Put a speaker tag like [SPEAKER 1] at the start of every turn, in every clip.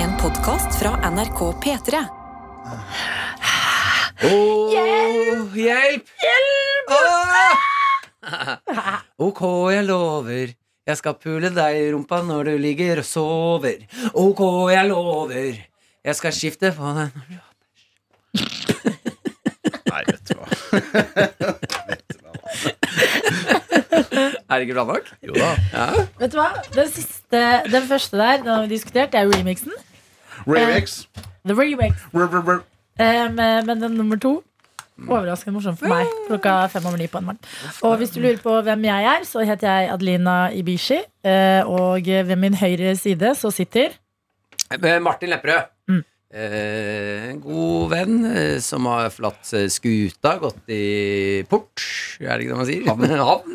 [SPEAKER 1] En podkast fra NRK P3.
[SPEAKER 2] Åh, hjelp! Hjelp! Åh! Ok, jeg lover. Jeg skal pule deg i rumpa når du ligger og sover. Ok, jeg lover. Jeg skal skifte på deg når du
[SPEAKER 3] Nei, vet du hva. Vet du hva?
[SPEAKER 2] Er det ikke bra nok?
[SPEAKER 3] Jo da.
[SPEAKER 4] Vet du hva? Den, siste, den første der den har vi diskutert, det er remixen.
[SPEAKER 3] Remix.
[SPEAKER 4] The remix.
[SPEAKER 3] Re- re- re-
[SPEAKER 4] Um, eh, men den nummer to Overraskende morsom for meg klokka fem over ni på en morgen. Og hvis du lurer på hvem jeg er, så heter jeg Adelina Ibishi. eh, Og ved min høyre side så sitter
[SPEAKER 2] Eh, Martin Lepperød.
[SPEAKER 4] Mm.
[SPEAKER 2] Eh, en god venn eh, som har forlatt eh, skuta, gått i port. Er det ikke det man sier? Havn.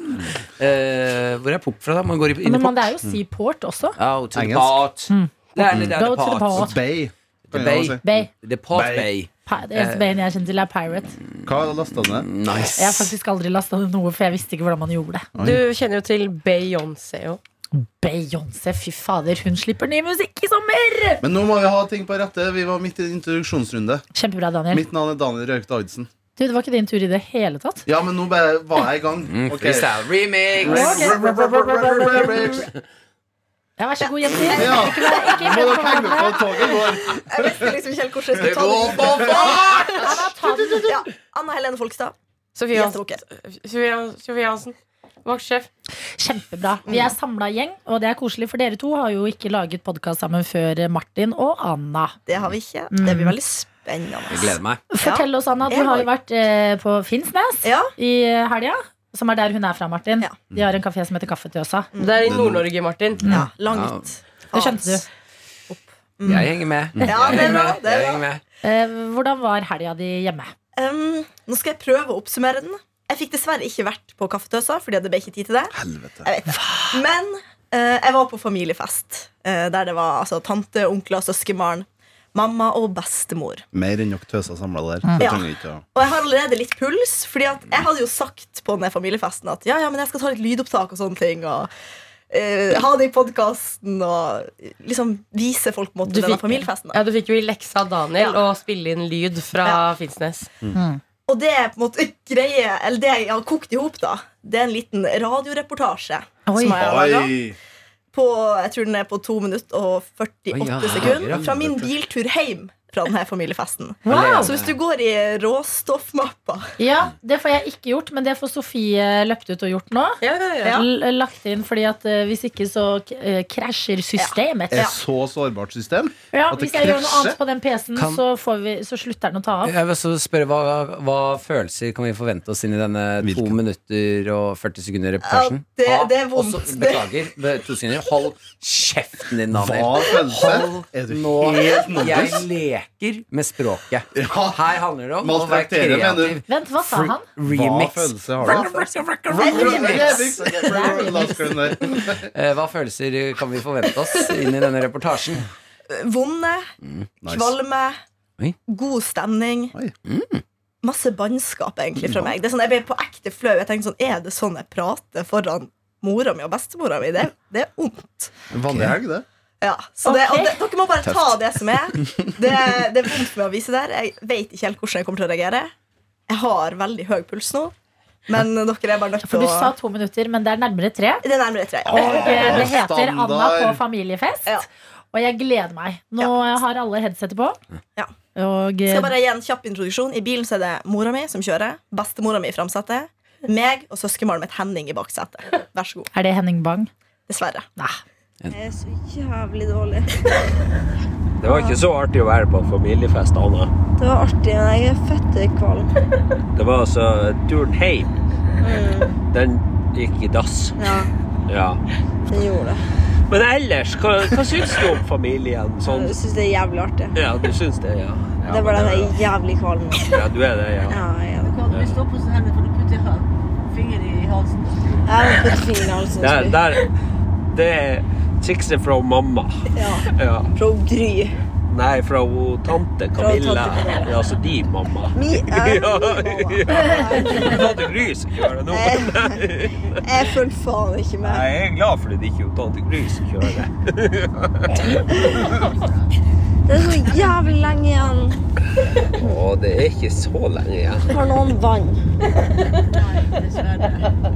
[SPEAKER 2] Eh, hvor er port fra, da? Man går i- inn i
[SPEAKER 4] Men man,
[SPEAKER 2] port. Mm.
[SPEAKER 4] det er jo Seaport også.
[SPEAKER 2] Out to the
[SPEAKER 3] Engelsk.
[SPEAKER 2] pot.
[SPEAKER 4] Mm.
[SPEAKER 2] Det er det det er
[SPEAKER 4] Go
[SPEAKER 2] the
[SPEAKER 4] to the
[SPEAKER 2] pot.
[SPEAKER 4] pot.
[SPEAKER 3] Bay.
[SPEAKER 2] The Bay.
[SPEAKER 4] Bay.
[SPEAKER 2] The pot
[SPEAKER 3] Bay.
[SPEAKER 2] bay.
[SPEAKER 4] Pi- Det eneste bayen jeg kjenner til, er Pirate.
[SPEAKER 3] Hva er lasta ned?
[SPEAKER 2] Nice.
[SPEAKER 4] Jeg har faktisk aldri lasta ned noe, for jeg visste ikke hvordan man gjorde det.
[SPEAKER 3] Oi.
[SPEAKER 5] Du kjenner jo til Beyoncé jo.
[SPEAKER 4] Beyoncé, fy fader, hun slipper ny musikk i sommer!
[SPEAKER 3] Men nå må vi ha ting på rette. Vi var midt i en introduksjonsrunde.
[SPEAKER 4] Kjempebra, Daniel.
[SPEAKER 3] Mitt navn er Daniel Røyk Davidsen.
[SPEAKER 4] Du, Det var ikke din tur i det hele tatt.
[SPEAKER 3] Ja, men nå bare var jeg i gang.
[SPEAKER 2] Mm,
[SPEAKER 3] Ok.
[SPEAKER 2] freestyle remix.
[SPEAKER 3] Re- re- re- re- re- re- re- re- remix.
[SPEAKER 4] Ja, Vær så god, jenter.
[SPEAKER 3] Ja.
[SPEAKER 4] Ikke vær- ikke
[SPEAKER 3] Må dere
[SPEAKER 4] vær-
[SPEAKER 3] henge med på at toget går.
[SPEAKER 6] Jeg visste liksom ikke helt hvordan
[SPEAKER 2] Det
[SPEAKER 6] jeg
[SPEAKER 2] går
[SPEAKER 6] skulle
[SPEAKER 2] på fart!
[SPEAKER 6] ta den. Ja, Anna Helene Folkstad.
[SPEAKER 5] Sofie Hansen.
[SPEAKER 6] Gjestebukker.
[SPEAKER 5] Sofie- Sofie Hansen. Vaktsjef.
[SPEAKER 4] Kjempebra. Vi er samla gjeng, og det er koselig, for dere to har jo ikke laget podkast sammen før Martin og Anna.
[SPEAKER 6] Det har vi ikke.
[SPEAKER 4] Mm.
[SPEAKER 6] Det blir veldig spennende.
[SPEAKER 2] Jeg gleder meg.
[SPEAKER 4] Fortell oss, Anna, du
[SPEAKER 6] Jeg
[SPEAKER 4] har jo
[SPEAKER 6] har-
[SPEAKER 4] vært eh, på Finnsnes
[SPEAKER 6] Ja.
[SPEAKER 4] i helga, som er der hun er fra, Martin.
[SPEAKER 6] Ja.
[SPEAKER 4] De har en kafé som heter Kaffetøsa.
[SPEAKER 6] Mm.
[SPEAKER 5] Det er i Nord-Norge, Martin.
[SPEAKER 6] ja. Langt.
[SPEAKER 4] Mm. Det skjønte du.
[SPEAKER 2] Jeg henger med.
[SPEAKER 6] Mm. Ja,
[SPEAKER 2] Jeg
[SPEAKER 6] det
[SPEAKER 2] henger
[SPEAKER 6] er bra.
[SPEAKER 2] med.
[SPEAKER 6] Det
[SPEAKER 2] Jeg
[SPEAKER 6] er
[SPEAKER 2] henger
[SPEAKER 6] bra.
[SPEAKER 2] med.
[SPEAKER 4] Eh, hvordan var helga di hjemme?
[SPEAKER 6] Um, nå skal jeg prøve å oppsummere den. Jeg fikk dessverre ikke vært på Kaffetøsa, fordi det ble ikke tid til det.
[SPEAKER 3] Helvete.
[SPEAKER 6] Jeg vet det. Men eh, jeg var på familiefest, eh, der det var altså, tante, onkler, søskenbarn, mamma og bestemor.
[SPEAKER 3] Mer enn nok tøser samla der. Det
[SPEAKER 6] Ja.
[SPEAKER 3] trenger vi ikke å
[SPEAKER 6] Og jeg har allerede litt puls, Fordi at jeg hadde jo sagt på denne familiefesten at ja, ja, men jeg skal ta litt lydopptak og sånne ting. Og eh, ha det i podkasten og liksom vise folk på en måte
[SPEAKER 5] Du
[SPEAKER 6] denne
[SPEAKER 5] fikk-
[SPEAKER 6] familiefesten. Da.
[SPEAKER 5] Ja, du fikk jo i leksa av Daniel
[SPEAKER 6] Ja.
[SPEAKER 5] å spille inn lyd fra Finnsnes.
[SPEAKER 6] Og det er på en måte greie, eller det jeg har kokt i hop, da, det er en liten radioreportasje.
[SPEAKER 4] Oi.
[SPEAKER 6] Som jeg har laget
[SPEAKER 3] Oi.
[SPEAKER 6] på jeg tror den er på 2 minutter og 48
[SPEAKER 2] Oi, ja,
[SPEAKER 6] sekunder
[SPEAKER 2] herregud.
[SPEAKER 6] fra min biltur hjem fra denne familiefesten.
[SPEAKER 4] Wow.
[SPEAKER 6] Så hvis du går i råstoffmappa
[SPEAKER 4] Ja, det får jeg ikke gjort, men det får Sofie eh, løpt ut og gjort nå.
[SPEAKER 5] Ja,
[SPEAKER 6] Ja.
[SPEAKER 4] L- eh, Lagt inn fordi at eh, hvis ikke så k- eh, krasjer systemet.
[SPEAKER 3] Et så sårbart system.
[SPEAKER 4] Ja,
[SPEAKER 3] At det
[SPEAKER 4] Hvis jeg gjør noe
[SPEAKER 3] krasjer?
[SPEAKER 4] annet på den PC-en,
[SPEAKER 2] Kan-
[SPEAKER 4] så, får vi, så slutter den å ta av.
[SPEAKER 2] Jeg vil også spørre, hva, hva følelser kan vi forvente oss inn i denne to
[SPEAKER 3] Hvilken?
[SPEAKER 2] minutter og 40 sekunder reportasjen?
[SPEAKER 6] Ja, det-
[SPEAKER 2] Ah,
[SPEAKER 6] det er vondt.
[SPEAKER 2] også- beklager. be- To sekunder. Hold kjeften din,
[SPEAKER 3] Hva
[SPEAKER 2] Daniel.
[SPEAKER 3] følelse? Er du
[SPEAKER 2] Nå
[SPEAKER 3] helt
[SPEAKER 2] Jeg
[SPEAKER 3] nådeløs?
[SPEAKER 2] leker med språket.
[SPEAKER 3] Ja.
[SPEAKER 2] Her handler det om å være
[SPEAKER 3] Maltraktere, mener
[SPEAKER 2] kreativ.
[SPEAKER 3] du?
[SPEAKER 4] Vent, hva sa han?
[SPEAKER 3] Hva
[SPEAKER 2] Remix.
[SPEAKER 3] følelse har du?
[SPEAKER 6] Remix.
[SPEAKER 3] Remix.
[SPEAKER 2] Eh, Hva følelser kan vi forvente oss inn i denne reportasjen?
[SPEAKER 6] Vonde, kvalme,
[SPEAKER 2] Oi.
[SPEAKER 6] god stemning.
[SPEAKER 3] Oi.
[SPEAKER 4] Mm.
[SPEAKER 6] Masse bannskap, egentlig, fra meg. Det er sånn, jeg ble på ekte flau. Jeg tenkte sånn, Er det sånn jeg prater foran mora mi og bestemora mi? Det, det er vondt.
[SPEAKER 3] Vanlig helg, det.
[SPEAKER 6] Ja, så det,
[SPEAKER 4] Ok.
[SPEAKER 6] og det, Dere må bare ta det som er. Det, det er vondt med å vise der. Jeg vet ikke helt hvordan jeg kommer til å reagere. Jeg har veldig høy puls nå, men dere er bare nødt
[SPEAKER 4] For
[SPEAKER 6] til
[SPEAKER 4] du
[SPEAKER 6] å
[SPEAKER 4] sa to minutter, men det er nærmere tre.
[SPEAKER 6] Det er nærmere tre.
[SPEAKER 4] Og eh, det heter
[SPEAKER 3] standard.
[SPEAKER 4] Anna på familiefest.
[SPEAKER 6] Ja.
[SPEAKER 4] Og jeg gleder meg. Nå eh, har alle headsetet på.
[SPEAKER 6] Ja.
[SPEAKER 4] Og eh,
[SPEAKER 6] Skal bare gi en kjapp introduksjon. I bilen så er det mora mi som kjører. Bestemora mi i framsetet. Meg og søskenbarnet mitt Henning i baksetet. Vær så god.
[SPEAKER 4] er det Henning Bang?
[SPEAKER 6] Dessverre.
[SPEAKER 4] Nei.
[SPEAKER 7] Jeg er så jævlig dårlig.
[SPEAKER 8] Det var ikke så artig å være på en familiefest, Anna.
[SPEAKER 7] Det var artig, men jeg er fette kvalm.
[SPEAKER 8] Det var altså turen hjem. Den gikk i dass.
[SPEAKER 7] Ja,
[SPEAKER 8] Ja.
[SPEAKER 7] den gjorde det.
[SPEAKER 8] Men ellers, hva, hva syns du om familien? Sånn,
[SPEAKER 7] Jeg syns det er jævlig artig.
[SPEAKER 8] ja, du syns det, ja. ja
[SPEAKER 7] Det er bare
[SPEAKER 8] men
[SPEAKER 7] at jeg er jævlig kvalm. nå.
[SPEAKER 8] Ja, du er det, ja.
[SPEAKER 7] Ja, jeg er det.
[SPEAKER 9] Du stopper sånn her, for du putter fingeren i halsen.
[SPEAKER 7] Jeg har fått fingeren altså.
[SPEAKER 8] Der, der Det er trikset fra mamma.
[SPEAKER 7] Ja.
[SPEAKER 8] Ja.
[SPEAKER 7] Pro Gry.
[SPEAKER 8] Nei, fra hun tante Camilla.
[SPEAKER 7] tante Camilla.
[SPEAKER 8] Ja, altså de mamma.
[SPEAKER 7] Mi, ja,
[SPEAKER 8] Ja,
[SPEAKER 7] min mamma.
[SPEAKER 8] ja. Tante Gry som kjører nå. Nei,
[SPEAKER 7] Jeg følger faen ikke med.
[SPEAKER 8] jeg er glad for det ikke er tante Gry som kjører det.
[SPEAKER 7] Det er så jævlig lenge igjen.
[SPEAKER 8] Å, det er ikke så lenge igjen.
[SPEAKER 7] Har noen vann?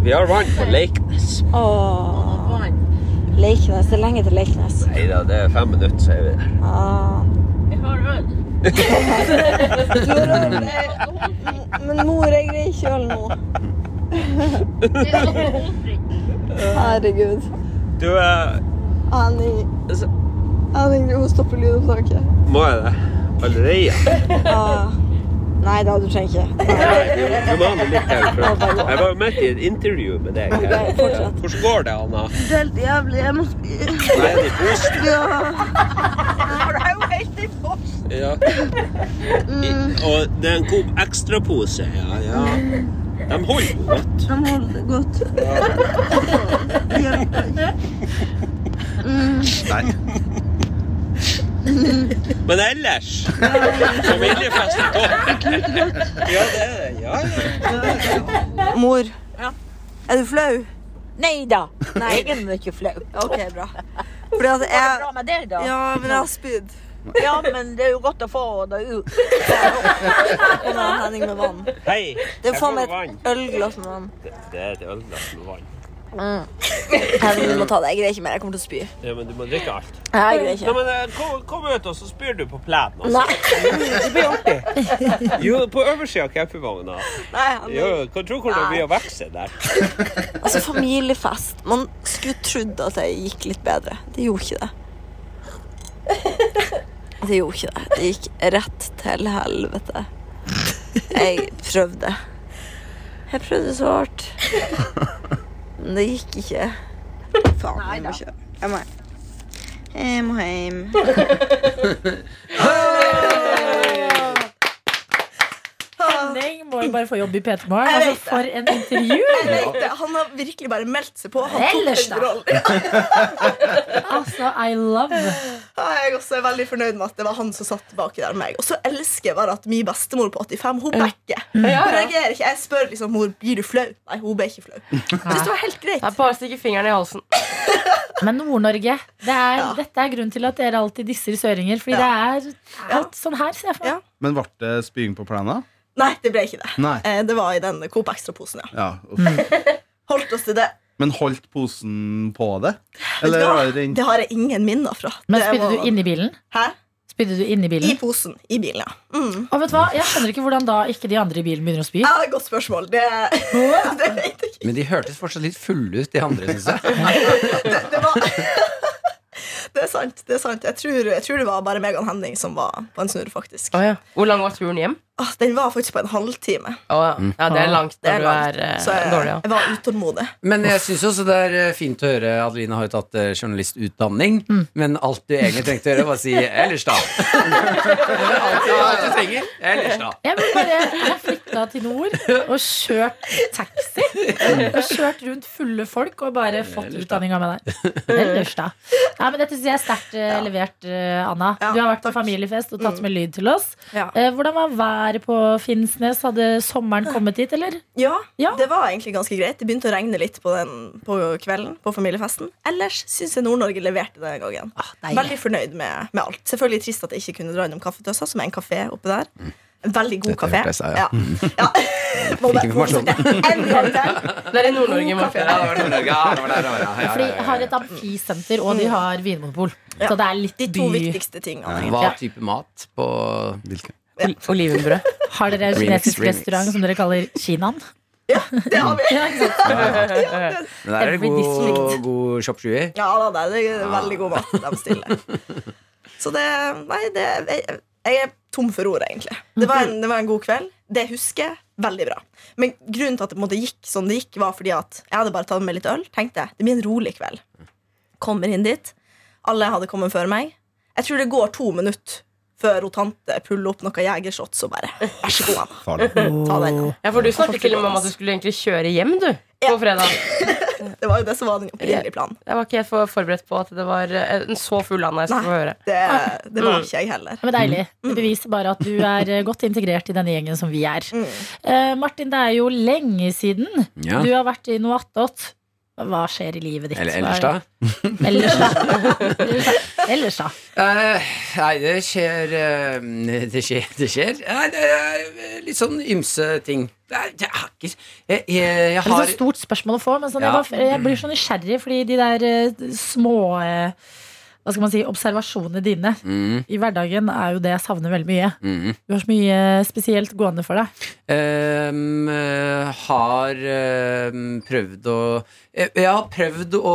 [SPEAKER 8] Vi har vann på Leiknes.
[SPEAKER 7] Åh. Leiknes. Det er lenge til Leiknes.
[SPEAKER 8] Nei da, det er fem minutter, så er vi der.
[SPEAKER 7] Ah.
[SPEAKER 9] Jeg har øl.
[SPEAKER 7] Du har øl, jeg- eh, Men mor, jeg greier ikke øl nå. Herregud.
[SPEAKER 8] Du, eh,
[SPEAKER 7] Annie, Annie hun stopper lydopptaket.
[SPEAKER 8] må jeg det? Allerede?
[SPEAKER 7] Ah. Nei da, du trenger ikke.
[SPEAKER 8] Nei, du, du må ha med litt her. For jeg var jo midt i et intervju med deg. her. Hvordan går det, Anna?
[SPEAKER 7] Helt jævlig. Jeg må spy.
[SPEAKER 8] Nei, det er positivt.
[SPEAKER 7] Ja. Det er jo helt i
[SPEAKER 8] Ja. I, og det er en god ekstrapose, ja. ja. De holder jo godt.
[SPEAKER 7] De holder det godt.
[SPEAKER 3] Nei.
[SPEAKER 8] Men ellers Familiefesten godt. Ja, det er det. Ja, ja.
[SPEAKER 6] Mor, er du flau?
[SPEAKER 10] Nei da. Jeg er mye flau.
[SPEAKER 6] OK, bra. Fordi at
[SPEAKER 10] Går det
[SPEAKER 6] jeg
[SPEAKER 10] bra med deg, da?
[SPEAKER 6] Ja, men jeg har spydd.
[SPEAKER 10] Ja, men det er jo godt å få det ut.
[SPEAKER 6] Kom igjen, Henning, med vann.
[SPEAKER 8] Hei.
[SPEAKER 6] Det
[SPEAKER 8] jeg
[SPEAKER 6] er
[SPEAKER 8] får
[SPEAKER 6] faen meg
[SPEAKER 8] vann.
[SPEAKER 6] et ølglass med vann.
[SPEAKER 8] Det er et ølglass med vann.
[SPEAKER 6] Henning, du må ta det. Jeg greier ikke mer. Jeg kommer til å spy.
[SPEAKER 8] Ja, men du må drikke alt.
[SPEAKER 6] Jeg greier
[SPEAKER 8] Nei,
[SPEAKER 6] ikke.
[SPEAKER 8] men eh, kom, kom ut, og så spyr du på altså. plenen. Også. Det blir artig. Jo, på øversida av campingvogna.
[SPEAKER 6] Nei, Henning.
[SPEAKER 8] Jo, Kan tro hvordan det blir å vokse der.
[SPEAKER 6] Altså, familiefest. Man skulle trodd at det gikk litt bedre. Det gjorde ikke det. Det gjorde ikke det. Det gikk rett til helvete. Jeg prøvde. Jeg prøvde så hardt. Men det gikk ikke.
[SPEAKER 7] Faen, jeg må kjøre. Jeg må hjem. Jeg må hjem.
[SPEAKER 4] Henning må jo bare få jobb i P3 Morgen. Altså, for en intervju!
[SPEAKER 6] Han har virkelig bare meldt seg på. Han
[SPEAKER 4] Ellers,
[SPEAKER 6] tok
[SPEAKER 4] da.
[SPEAKER 6] en rolle.
[SPEAKER 4] Altså, I love.
[SPEAKER 6] Ja, Jeg også er veldig fornøyd med at det var han som satt baki der meg. Og så elsker jeg bare at min bestemor på 85 hun backer.
[SPEAKER 4] Mm.
[SPEAKER 6] Hun reagerer ikke. Jeg spør liksom mor, blir du flau. Nei, hun ble ikke flau. Jeg synes det var helt greit.
[SPEAKER 5] Det er bare å stikke fingeren i halsen.
[SPEAKER 4] Men Nord-Norge, det er, dette er grunnen til at dere alltid disser søringer. Fordi det er alt sånn her, ser jeg for meg.
[SPEAKER 6] Ja.
[SPEAKER 3] Men ble det spying på plenen?
[SPEAKER 6] Nei, det ble ikke det.
[SPEAKER 3] Nei.
[SPEAKER 6] Eh, Det var i den Coop Extra-posen, ja.
[SPEAKER 3] Ja, uff.
[SPEAKER 6] Mm. Holdt oss til det.
[SPEAKER 3] Men holdt posen på det?
[SPEAKER 6] Vet
[SPEAKER 3] Eller
[SPEAKER 6] du hva?
[SPEAKER 3] var det rent?
[SPEAKER 6] Det har jeg ingen minner fra.
[SPEAKER 4] Men
[SPEAKER 6] Det
[SPEAKER 4] spydde
[SPEAKER 6] var-
[SPEAKER 4] du inni bilen?
[SPEAKER 6] Hæ?
[SPEAKER 4] Spydde du inni
[SPEAKER 6] I
[SPEAKER 4] bilen?
[SPEAKER 6] posen. I bilen, ja. Mm.
[SPEAKER 4] Og vet du hva, Jeg skjønner ikke hvordan da ikke de andre i bilen begynner å spy.
[SPEAKER 6] Ja, Ah, godt spørsmål. Det, det vet jeg ikke.
[SPEAKER 2] Men de hørtes fortsatt litt fulle ut, de andre, syns jeg.
[SPEAKER 6] Det, det var Det er sant. det er sant jeg tror, jeg tror det var bare meg og Henning som var på en snurr, faktisk.
[SPEAKER 5] Hvor lang var turen hjem?
[SPEAKER 6] Ah, den var faktisk på en halvtime.
[SPEAKER 5] ja. det er langt
[SPEAKER 6] Det er
[SPEAKER 5] når du
[SPEAKER 6] langt.
[SPEAKER 5] er eh,
[SPEAKER 6] Så jeg,
[SPEAKER 5] dårlig. Ja.
[SPEAKER 6] jeg var utålmodig.
[SPEAKER 2] Men jeg syns også det er eh, fint å høre Adeline har jo tatt eh, journalistutdanning, men alt du egentlig trengte å gjøre, var å si 'ellers, da'. det er alltid alt du trenger. Ellers, da.
[SPEAKER 4] Jeg vil bare jeg flytta til nord og kjørt taxi. Og kjørt rundt fulle folk og bare fått utdanninga med deg. Ellers, da. Nei, men dette syns jeg er sterkt eh, levert, eh, Anna.
[SPEAKER 6] Ja,
[SPEAKER 4] Du har vært på
[SPEAKER 6] takk. Mm.
[SPEAKER 4] familiefest og tatt med lyd til oss.
[SPEAKER 6] Ja.
[SPEAKER 4] Eh, Hvordan var været på Finnsnes? Hadde sommeren kommet hit, eller?
[SPEAKER 6] Ja,
[SPEAKER 4] Ja.
[SPEAKER 6] det var egentlig ganske greit. Det begynte å regne litt på, den, på kvelden på familiefesten. Ellers syns jeg Nord-Norge leverte denne gangen. Veldig fornøyd med, med alt. Selvfølgelig trist at jeg ikke kunne dra innom Kaffetøsa, som er en kafé oppe der. En veldig god
[SPEAKER 2] Dette
[SPEAKER 6] kafé.
[SPEAKER 2] hørte jeg seg,
[SPEAKER 6] ja.
[SPEAKER 2] ja.
[SPEAKER 6] Ja. Må bare-
[SPEAKER 2] informasjon.
[SPEAKER 6] En gang til.
[SPEAKER 5] Det er i Nord-Norge. Martin.
[SPEAKER 2] Ja, det var Nord-Norge. Ja, det var der, det var der. Ja, ja,
[SPEAKER 4] For de
[SPEAKER 2] ja,
[SPEAKER 4] har et amfisenter, og de har vinmonopol. Så det er litt
[SPEAKER 6] Mm. De to
[SPEAKER 4] by.
[SPEAKER 6] viktigste tingene.
[SPEAKER 2] ja.
[SPEAKER 6] egentlig.
[SPEAKER 2] Hva type mat på
[SPEAKER 3] Hvilken?
[SPEAKER 5] Ol- Olivenbrød.
[SPEAKER 4] Har dere en
[SPEAKER 2] Remix,
[SPEAKER 4] kinesisk
[SPEAKER 2] remix.
[SPEAKER 4] restaurant som dere kaller Kinaen?
[SPEAKER 6] Det har vi.
[SPEAKER 4] Ja, ikke sant?
[SPEAKER 2] Men der er det
[SPEAKER 4] Every
[SPEAKER 2] god,
[SPEAKER 4] district.
[SPEAKER 2] god chop shui.
[SPEAKER 6] Ja da, det er veldig god mat de stiller. Så det Nei, det jeg, jeg er tom for ord, egentlig. Det var, en, det var en god kveld. Det husker jeg. Veldig bra. Men grunnen til at det på en måte gikk som det gikk, var fordi at jeg hadde bare tatt med litt øl. Tenkte jeg, det blir en rolig kveld. Kommer inn dit. Alle hadde kommet før meg. Jeg tror det går to minutter før hun tante puller opp noe jegershots og bare Vær så god, Anna. Ta den. Anna.
[SPEAKER 5] Ja, for du snakket til og med om at du skulle egentlig kjøre hjem, du. På fredag.
[SPEAKER 6] Det var jo det som var den opprinnelige planen.
[SPEAKER 5] Jeg var ikke helt for- forberedt på at det var eh, en så full Anna jeg skulle få høre.
[SPEAKER 6] Det, det var
[SPEAKER 5] Mm.
[SPEAKER 6] ikke jeg heller.
[SPEAKER 4] Ja, Men deilig. Det beviser bare at du er eh, godt integrert i denne gjengen som vi er. Eh, Martin, det er jo lenge siden
[SPEAKER 2] Ja.
[SPEAKER 4] du har vært i noe attåt. Hva skjer i livet ditt?
[SPEAKER 2] Eller
[SPEAKER 4] Hva
[SPEAKER 2] ellers,
[SPEAKER 4] er-
[SPEAKER 2] da?
[SPEAKER 4] Ellers, da. Ellers, da.
[SPEAKER 2] Eh, nei, det skjer eh, Det skjer, det skjer. Nei, det er eh, litt sånn ymse ting. Det er, det er ikke Jeg, jeg, jeg
[SPEAKER 4] Det er et
[SPEAKER 2] har
[SPEAKER 4] sånt stort spørsmål å få, men sånn,
[SPEAKER 2] Ja.
[SPEAKER 4] jeg, var, jeg blir så nysgjerrig fordi de der eh, små eh, hva skal man si, observasjonene dine
[SPEAKER 2] Mm,
[SPEAKER 4] i hverdagen er jo det jeg savner veldig mye.
[SPEAKER 2] mm.
[SPEAKER 4] Du har så mye eh, spesielt gående for deg.
[SPEAKER 2] Ehm, eh, har ehm, prøvd å eh, jeg, jeg har prøvd å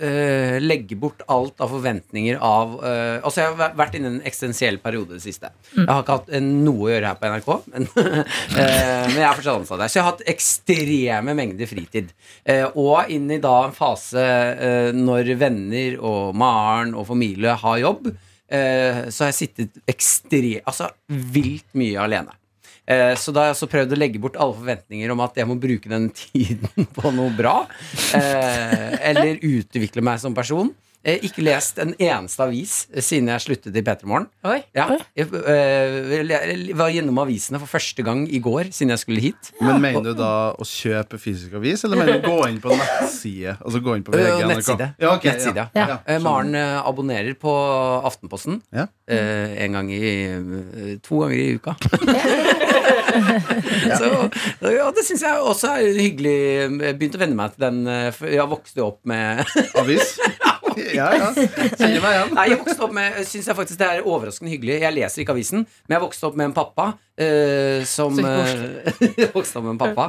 [SPEAKER 2] eh, legge bort alt av forventninger av eh, Altså, jeg har væ- vært inne i en eksistensiell periode i det siste. Jeg har ikke hatt eh, noe å gjøre her på NRK, men, eh, men jeg er fortsatt ansatt der. Så jeg har hatt ekstreme mengder fritid. Eh, og inn i da en fase eh, når venner og Maren og familie har jobb, eh, så har jeg sittet ekstremt Altså vilt mye alene. Eh, Så da har jeg også prøvd å legge bort alle forventninger om at jeg må bruke den tiden på noe bra. eh, Eller utvikle meg som person. Eh, Ikke lest en eneste avis eh, siden jeg sluttet i P3 Morgen.
[SPEAKER 5] Oi.
[SPEAKER 2] Ja, jeg, eh, jeg var gjennom avisene for første gang i går siden jeg skulle hit.
[SPEAKER 3] Men mener du da å kjøpe fysisk avis, eller mener du å gå inn på nettside? Altså gå inn på VG,
[SPEAKER 2] Eh,
[SPEAKER 3] NRK?
[SPEAKER 2] nettside.
[SPEAKER 3] Ja, ok,
[SPEAKER 2] nettside ja.
[SPEAKER 3] ja.
[SPEAKER 4] Ja.
[SPEAKER 2] Eh, Maren eh, abonnerer på Aftenposten
[SPEAKER 3] Ja.
[SPEAKER 2] eh, en gang i eh, To ganger i uka. så, ja, det syns jeg også er hyggelig. Jeg begynte å venne meg til den. eh, for Jeg vokste opp med
[SPEAKER 3] Avis? Ja, ja. Kjenner meg igjen.
[SPEAKER 2] Nei, jeg vokste opp med Syns jeg faktisk det er overraskende hyggelig. Jeg leser ikke avisen, men jeg vokste opp med en pappa eh, som
[SPEAKER 5] Så
[SPEAKER 2] eh, Vokste opp med en pappa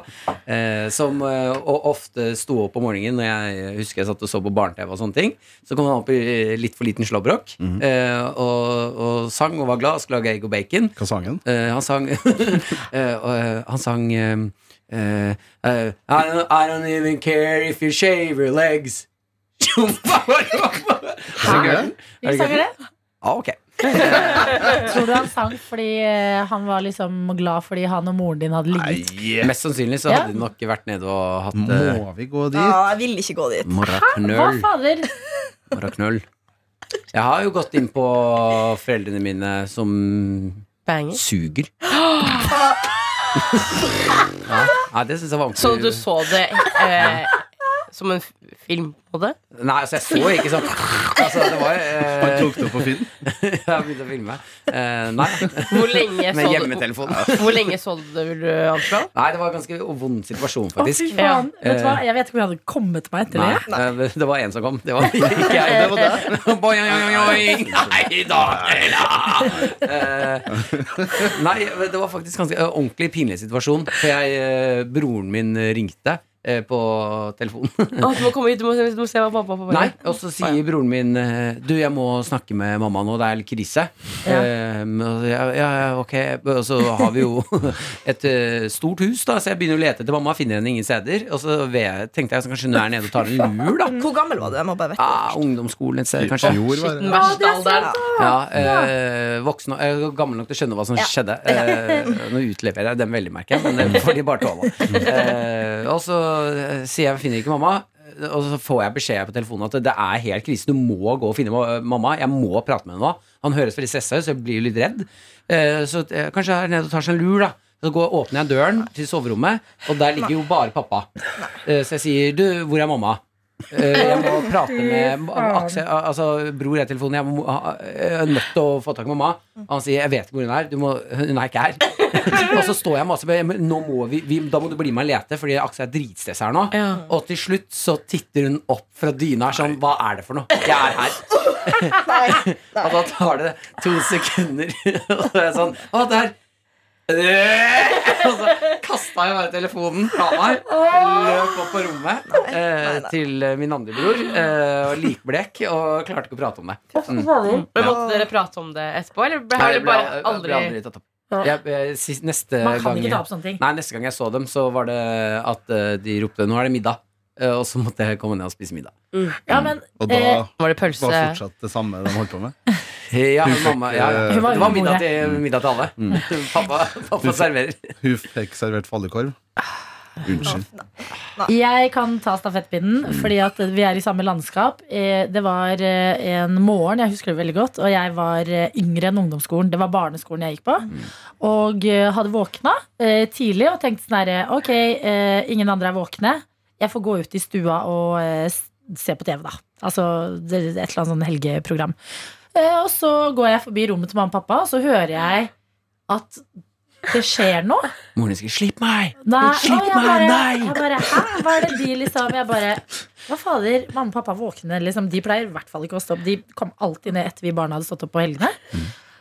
[SPEAKER 2] eh, som eh, og ofte sto opp om morgenen når jeg husker jeg satt og så på barne-TV og sånne ting. Så kom han opp i eh, litt for liten slåbrok
[SPEAKER 3] Mhm.
[SPEAKER 2] eh, og, og sang og var glad og skulle lage egg og bacon.
[SPEAKER 3] Hva sang han?
[SPEAKER 2] Eh, han sang eh, og, eh, Han sang ehm, eh, eh, I, don't, I don't even care if you shave your legs. Hæ?
[SPEAKER 4] Hvilken sang er det?
[SPEAKER 2] Ja, ok.
[SPEAKER 4] Tror du han sang fordi eh, han var liksom glad fordi han og moren din hadde ligget?
[SPEAKER 2] Mest sannsynlig så
[SPEAKER 4] Ja.
[SPEAKER 2] hadde de nok vært nede og hatt eh,
[SPEAKER 3] Må vi gå dit?
[SPEAKER 6] Ja, jeg vil ikke gå dit.
[SPEAKER 4] Hva
[SPEAKER 2] morraknøll.
[SPEAKER 4] fader?
[SPEAKER 2] Morraknøll. Jeg har jo gått inn på foreldrene mine som
[SPEAKER 5] Banger.
[SPEAKER 2] suger. Ja. Nei, det syns jeg var
[SPEAKER 5] Så du
[SPEAKER 2] ordentlig
[SPEAKER 5] så det eh, som en f- film på det?
[SPEAKER 2] Nei, altså, jeg så ikke sånn altså, Det var
[SPEAKER 3] Han
[SPEAKER 2] eh,
[SPEAKER 3] tok det opp på Finn.
[SPEAKER 2] Jeg begynte å filme. Eh, nei.
[SPEAKER 5] Hvor lenge
[SPEAKER 2] Med
[SPEAKER 5] så du,
[SPEAKER 2] hjemmetelefon.
[SPEAKER 5] hvor lenge så du det, vil du anslå?
[SPEAKER 2] Nei, det var en ganske vond situasjon,
[SPEAKER 4] Å, fy
[SPEAKER 2] faktisk.
[SPEAKER 4] faen. Vet du hva?
[SPEAKER 2] Eh,
[SPEAKER 4] Jeg vet ikke om jeg hadde kommet meg etter
[SPEAKER 2] Nei,
[SPEAKER 4] det.
[SPEAKER 2] eh, det- det var en som kom. Det var ikke jeg. Boing, boing, boing. Nei, Daniela! Eh, Nei, det var faktisk ganske eh, ordentlig pinlig situasjon. For jeg, eh, broren min ringte eh, på telefonen.
[SPEAKER 5] Å, du må komme hit, du må, se- du må se hva pappa og pappa
[SPEAKER 2] Nei,
[SPEAKER 5] gjør.
[SPEAKER 2] og så sier broren min eh, Du, jeg må snakke med mamma nå, det er litt krise
[SPEAKER 4] Ja.
[SPEAKER 2] Eh, og så, ja, ja, ja, ok Og så har vi jo et eh, stort hus da Så jeg begynner å lete etter mamma, finner henne ingen steder Og så ve- tenkte jeg så kanskje hun er nede og tar en lur da
[SPEAKER 6] Hvor gammel var du? Jeg må bare vekke
[SPEAKER 2] ah,
[SPEAKER 6] deg først.
[SPEAKER 2] Ungdomsskolen et sted, kanskje
[SPEAKER 3] Fjor var
[SPEAKER 5] Den
[SPEAKER 3] det.
[SPEAKER 5] verste alderen.
[SPEAKER 2] ja, eh, voksen, eh, Gammel nok til å skjønne hva som skjedde eh, Nå utlever jeg den veldig merker jeg Men det får de bare tåle eh, Og så eh, sier jeg, jeg finner ikke mamma og så får jeg beskjed på telefonen at det er helt krise. Du må gå og finne ma- mamma. Jeg må prate med henne nå. Han høres veldig stressa ut, så jeg blir jo litt redd. Eh, Så eh, kanskje jeg er nede og tar seg en lur, da. Så går, åpner jeg døren til soverommet, og der ligger jo bare pappa. Eh, Så jeg sier, du, hvor er mamma? Eh, Jeg må prate med Aksel, altså, bror er i telefonen. Jeg, må, jeg er nødt til å få tak i mamma. Og han sier 'jeg vet ikke hvor hun er'. Du må, hun er ikke her. og så står jeg masse med, men nå må vi, vi, Da må du bli med og lete, fordi Aksel er dritstressa her nå.
[SPEAKER 5] Ja.
[SPEAKER 2] Og til slutt så titter hun opp fra dyna her sånn Hva er det for noe? Jeg er her. Og da tar det to sekunder, og så er jeg sånn Å, der! Øh! Og så kasta jeg bare telefonen fra meg, løp opp på rommet eh,
[SPEAKER 6] nei.
[SPEAKER 2] til eh, min andre bror, eh, og likblek, og klarte ikke å prate om det. Mm.
[SPEAKER 5] Men måtte dere prate om det etterpå, eller ble- har
[SPEAKER 2] Nei,
[SPEAKER 5] dere
[SPEAKER 2] det ble
[SPEAKER 5] bare
[SPEAKER 2] al-
[SPEAKER 5] aldri
[SPEAKER 2] ble aldri tatt opp. Jeg, eh, sist, neste
[SPEAKER 4] Man kan
[SPEAKER 2] gang
[SPEAKER 4] ikke ta opp sånne ting.
[SPEAKER 2] Nei, neste gang jeg så dem, så var det at eh, de ropte 'nå er det middag', eh, og så måtte jeg komme ned og spise middag.
[SPEAKER 4] Ja, men
[SPEAKER 3] Og da
[SPEAKER 4] Eh,
[SPEAKER 5] Var
[SPEAKER 3] var
[SPEAKER 5] det pølse?
[SPEAKER 3] fortsatt det samme de holdt på med.
[SPEAKER 2] Ja,
[SPEAKER 3] Hun fikk,
[SPEAKER 2] mamma, ja.
[SPEAKER 3] eh,
[SPEAKER 2] Det
[SPEAKER 3] Hun var
[SPEAKER 2] var middag
[SPEAKER 4] bordet.
[SPEAKER 2] til, middag til alle. Pappa, pappa serverer.
[SPEAKER 3] Hun fikk servert fallekorv. Unnskyld.
[SPEAKER 4] Jeg kan ta stafettpinnen, fordi at vi er i samme landskap. Eh, Det var eh, en morgen, jeg husker det veldig godt, og jeg var eh, yngre enn ungdomsskolen. Det var barneskolen jeg gikk på. Og eh, hadde våkna eh, tidlig og tenkte sånn herre Ok, eh, ingen andre er våkne. Jeg får gå ut i stua og eh, s- se på TV, da. Altså det- det er et eller annet sånn helgeprogram. Eh, Og så går jeg forbi rommet til mamma og pappa, og så hører jeg at det skjer noe.
[SPEAKER 2] Moren din sier 'slipp meg'.
[SPEAKER 4] Nei,
[SPEAKER 2] Slipp
[SPEAKER 4] å, jeg
[SPEAKER 2] meg,
[SPEAKER 4] bare,
[SPEAKER 2] nei!
[SPEAKER 4] Jeg bare, Hæ, hva er det de liksom Jeg bare, hva fader, mamma og pappa våkner liksom De pleier i hvert fall ikke å stå opp De kom alltid ned etter vi barna hadde stått opp på helgene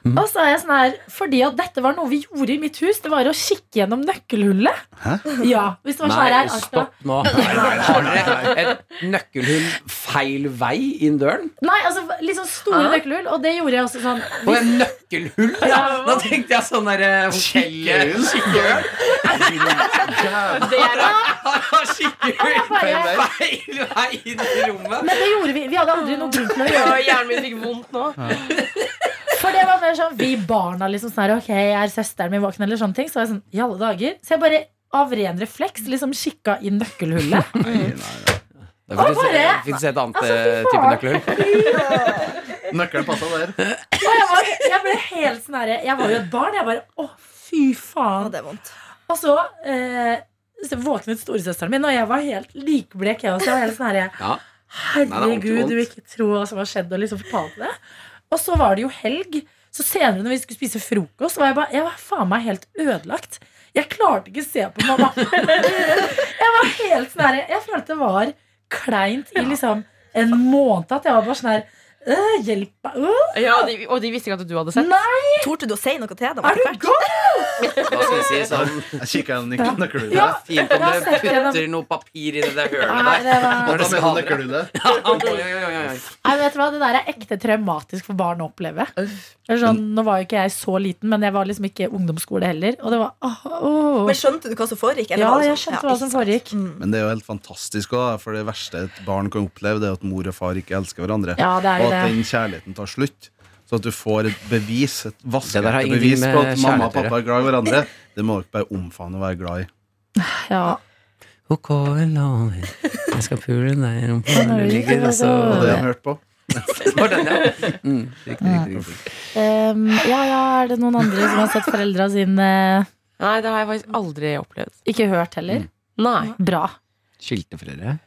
[SPEAKER 2] Mm.
[SPEAKER 4] Og så er jeg sånn her Fordi at dette var noe vi gjorde i mitt hus Det var å kikke gjennom nøkkelhullet
[SPEAKER 3] Hæ?
[SPEAKER 4] Ja, hvis det var sånn
[SPEAKER 2] Nei,
[SPEAKER 4] her altså,
[SPEAKER 2] stopp nå. Har dere et nøkkelhull feil vei inn døren?
[SPEAKER 4] Nei, altså, liksom store nøkkelhull Og det gjorde jeg også sånn
[SPEAKER 2] Og et nøkkelhull? Ja. Nå tenkte jeg sånn derre
[SPEAKER 3] Kikkehull.
[SPEAKER 2] Kikkehull.
[SPEAKER 5] Det er det.
[SPEAKER 2] Kikkehull.
[SPEAKER 4] bare,
[SPEAKER 2] Feil vei inn i rommet.
[SPEAKER 4] Men det gjorde vi, vi hadde aldri noen grunn til å gjøre
[SPEAKER 5] Ja, Hjernen min fikk vondt nå.
[SPEAKER 4] For det var mer sånn, vi barna liksom sånn her, Ok, er søsteren min våken eller sånne ting Så var jeg sånn, i alle dager Så jeg bare av ren refleks liksom kikka i nøkkelhullet
[SPEAKER 2] Det
[SPEAKER 4] bare-
[SPEAKER 2] fins et annet
[SPEAKER 4] Altså, fy
[SPEAKER 2] eh, type
[SPEAKER 4] faen.
[SPEAKER 2] nøkkelhull.
[SPEAKER 3] Nøkkelen passa der.
[SPEAKER 4] Og jeg, var, jeg ble helt sånn her Jeg var jo et barn, jeg bare, å fy
[SPEAKER 6] Ja,
[SPEAKER 4] faen
[SPEAKER 6] det er vondt.
[SPEAKER 4] Og så, eh, så våknet storesøsteren min Og jeg var helt likblek jeg også Jeg var helt sånn her, jeg,
[SPEAKER 2] Ja. Nei, det er ordentlig
[SPEAKER 4] herregud,
[SPEAKER 2] vondt.
[SPEAKER 4] du vil ikke tro hva som har skjedd Og liksom fortalte det Og så var det jo helg Så senere når vi skulle spise frokost Var jeg bare, jeg var faen meg helt ødelagt Jeg klarte ikke å se på mamma Jeg var helt sånn her Jeg følte det var kleint i liksom en måned At jeg var bare sånn her øh, Hjelp meg øh,
[SPEAKER 5] Ja, de, og de visste ikke at du hadde sett.
[SPEAKER 4] Nei,
[SPEAKER 6] Torde du å si noe til dem?
[SPEAKER 4] er
[SPEAKER 6] etter
[SPEAKER 4] du
[SPEAKER 6] hvert?
[SPEAKER 4] god?
[SPEAKER 2] Hva skal vi si sånn
[SPEAKER 3] Jeg kikka gjennom nøk- nøkkelhullet.
[SPEAKER 4] Ja.
[SPEAKER 2] Fint om
[SPEAKER 4] Jeg
[SPEAKER 2] du
[SPEAKER 4] har sett gjennom-
[SPEAKER 2] putter noe papir i det der
[SPEAKER 4] Nei,
[SPEAKER 2] hølet der.
[SPEAKER 4] det var
[SPEAKER 2] Når det
[SPEAKER 3] Ta med noen
[SPEAKER 2] skader.
[SPEAKER 3] nøkkelhullet.
[SPEAKER 2] Oi, oi, oi, oi.
[SPEAKER 4] Nei, vet du hva, Det der er ekte traumatisk for barn å oppleve. Eller Sånn, nå var jo ikke jeg så liten, men jeg var liksom ikke ungdomsskole heller. Og det var, åh, åh.
[SPEAKER 6] Men skjønte du hva som foregikk? eller
[SPEAKER 4] Ja,
[SPEAKER 6] var det
[SPEAKER 4] jeg
[SPEAKER 6] sånn-
[SPEAKER 4] skjønte hva
[SPEAKER 6] ikke
[SPEAKER 4] som
[SPEAKER 6] sant.
[SPEAKER 4] foregikk.
[SPEAKER 3] Men det er jo helt fantastisk også, for det verste et barn kan oppleve, det er at mor og far ikke elsker hverandre.
[SPEAKER 4] Ja, det er
[SPEAKER 3] og
[SPEAKER 4] jo
[SPEAKER 3] at
[SPEAKER 4] det.
[SPEAKER 3] den kjærligheten tar slutt. Så at du får et bevis, et
[SPEAKER 2] Det der har
[SPEAKER 3] vaskeekte
[SPEAKER 2] ingenting
[SPEAKER 3] bevis på
[SPEAKER 2] med
[SPEAKER 3] at mamma og
[SPEAKER 2] kjærlighet å
[SPEAKER 3] pappa er glad i hverandre. Det må dere bare omfavne og være glad i.
[SPEAKER 4] Ja.
[SPEAKER 2] Ok, lover. Jeg skal pule deg i rumpa når du ligger og
[SPEAKER 3] Det var det
[SPEAKER 2] sover.
[SPEAKER 3] jeg hørte på.
[SPEAKER 2] Det var den, ja. Mm, riktig, riktig, riktig.
[SPEAKER 4] Ehm, ja, ja, er det noen andre som har sett foreldra sine eh,
[SPEAKER 5] Nei, det har jeg faktisk aldri opplevd.
[SPEAKER 4] Ikke hørt heller?
[SPEAKER 5] Nei.
[SPEAKER 4] Bra.
[SPEAKER 2] Skilte foreldre.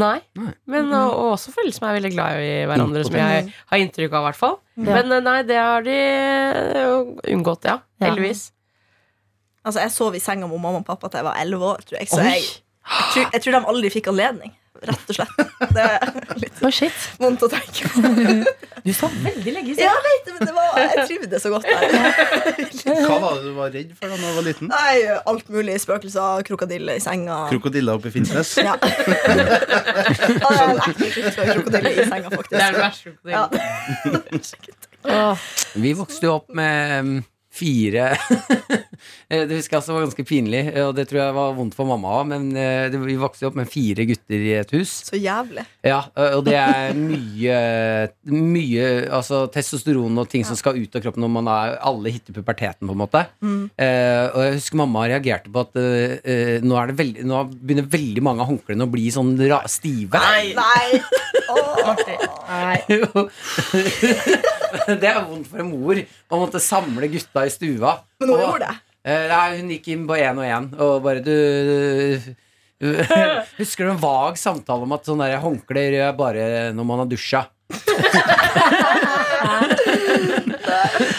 [SPEAKER 5] Nei.
[SPEAKER 2] Nei.
[SPEAKER 5] Men og, og også foreldre som er veldig glad i hverandre, som jeg har inntrykk av, i hvert fall.
[SPEAKER 4] Ja.
[SPEAKER 5] Men eh, nei, det har de eh, unngått, ja.
[SPEAKER 4] Ja.
[SPEAKER 5] Heldigvis.
[SPEAKER 6] Altså, jeg sov i senga med mamma og pappa til jeg var 11 år, tror jeg. Så
[SPEAKER 5] Oi.
[SPEAKER 6] jeg, jeg, tror, jeg tror de aldri fikk anledning, rett og slett. Det er litt
[SPEAKER 4] Å, shit.
[SPEAKER 6] vondt å tenke på.
[SPEAKER 4] Du sa veldig lenge siden.
[SPEAKER 6] Ja, jeg vet det, men det var, jeg trivdes så godt der.
[SPEAKER 3] Hva var det du var redd for da du var liten?
[SPEAKER 6] Nei, alt mulig. Spøkelser, krokodiller i senga.
[SPEAKER 3] Krokodiller oppe i Finnsnes?
[SPEAKER 6] Ja. Ja, det er en ekkel frykt for krokodiller i senga,
[SPEAKER 5] Det er
[SPEAKER 6] faktisk.
[SPEAKER 5] det verste.
[SPEAKER 6] Ja.
[SPEAKER 5] krokodillen.
[SPEAKER 4] Åh,
[SPEAKER 2] Vi vokste jo opp med mm, fire Eh, Det husker jeg også var ganske pinlig, eh, og det tror jeg var vondt for mamma òg, men eh, det- vi vokste jo opp med fire gutter i et hus.
[SPEAKER 6] Så jævlig.
[SPEAKER 2] Ja, eh, og det er mye, mye altså, testosteron og ting som skal ut av kroppen når man er, alle hitter puberteten, på en måte. Eh, og jeg husker mamma reagerte på at eh, eh, nå, er det veldig, nå begynner veldig mange av håndklærne å bli sånn ra stive.
[SPEAKER 6] Nei! Åh.
[SPEAKER 4] nei.
[SPEAKER 2] Jo. det er vondt for en mor å måtte samle gutta i stua.
[SPEAKER 6] Men hun
[SPEAKER 2] Og-
[SPEAKER 6] gjorde det.
[SPEAKER 2] Eh, Nei, hun gikk inn på én og én og bare du Husker du en vag samtale om at sånne der håndklær gjør jeg bare når man har dusja?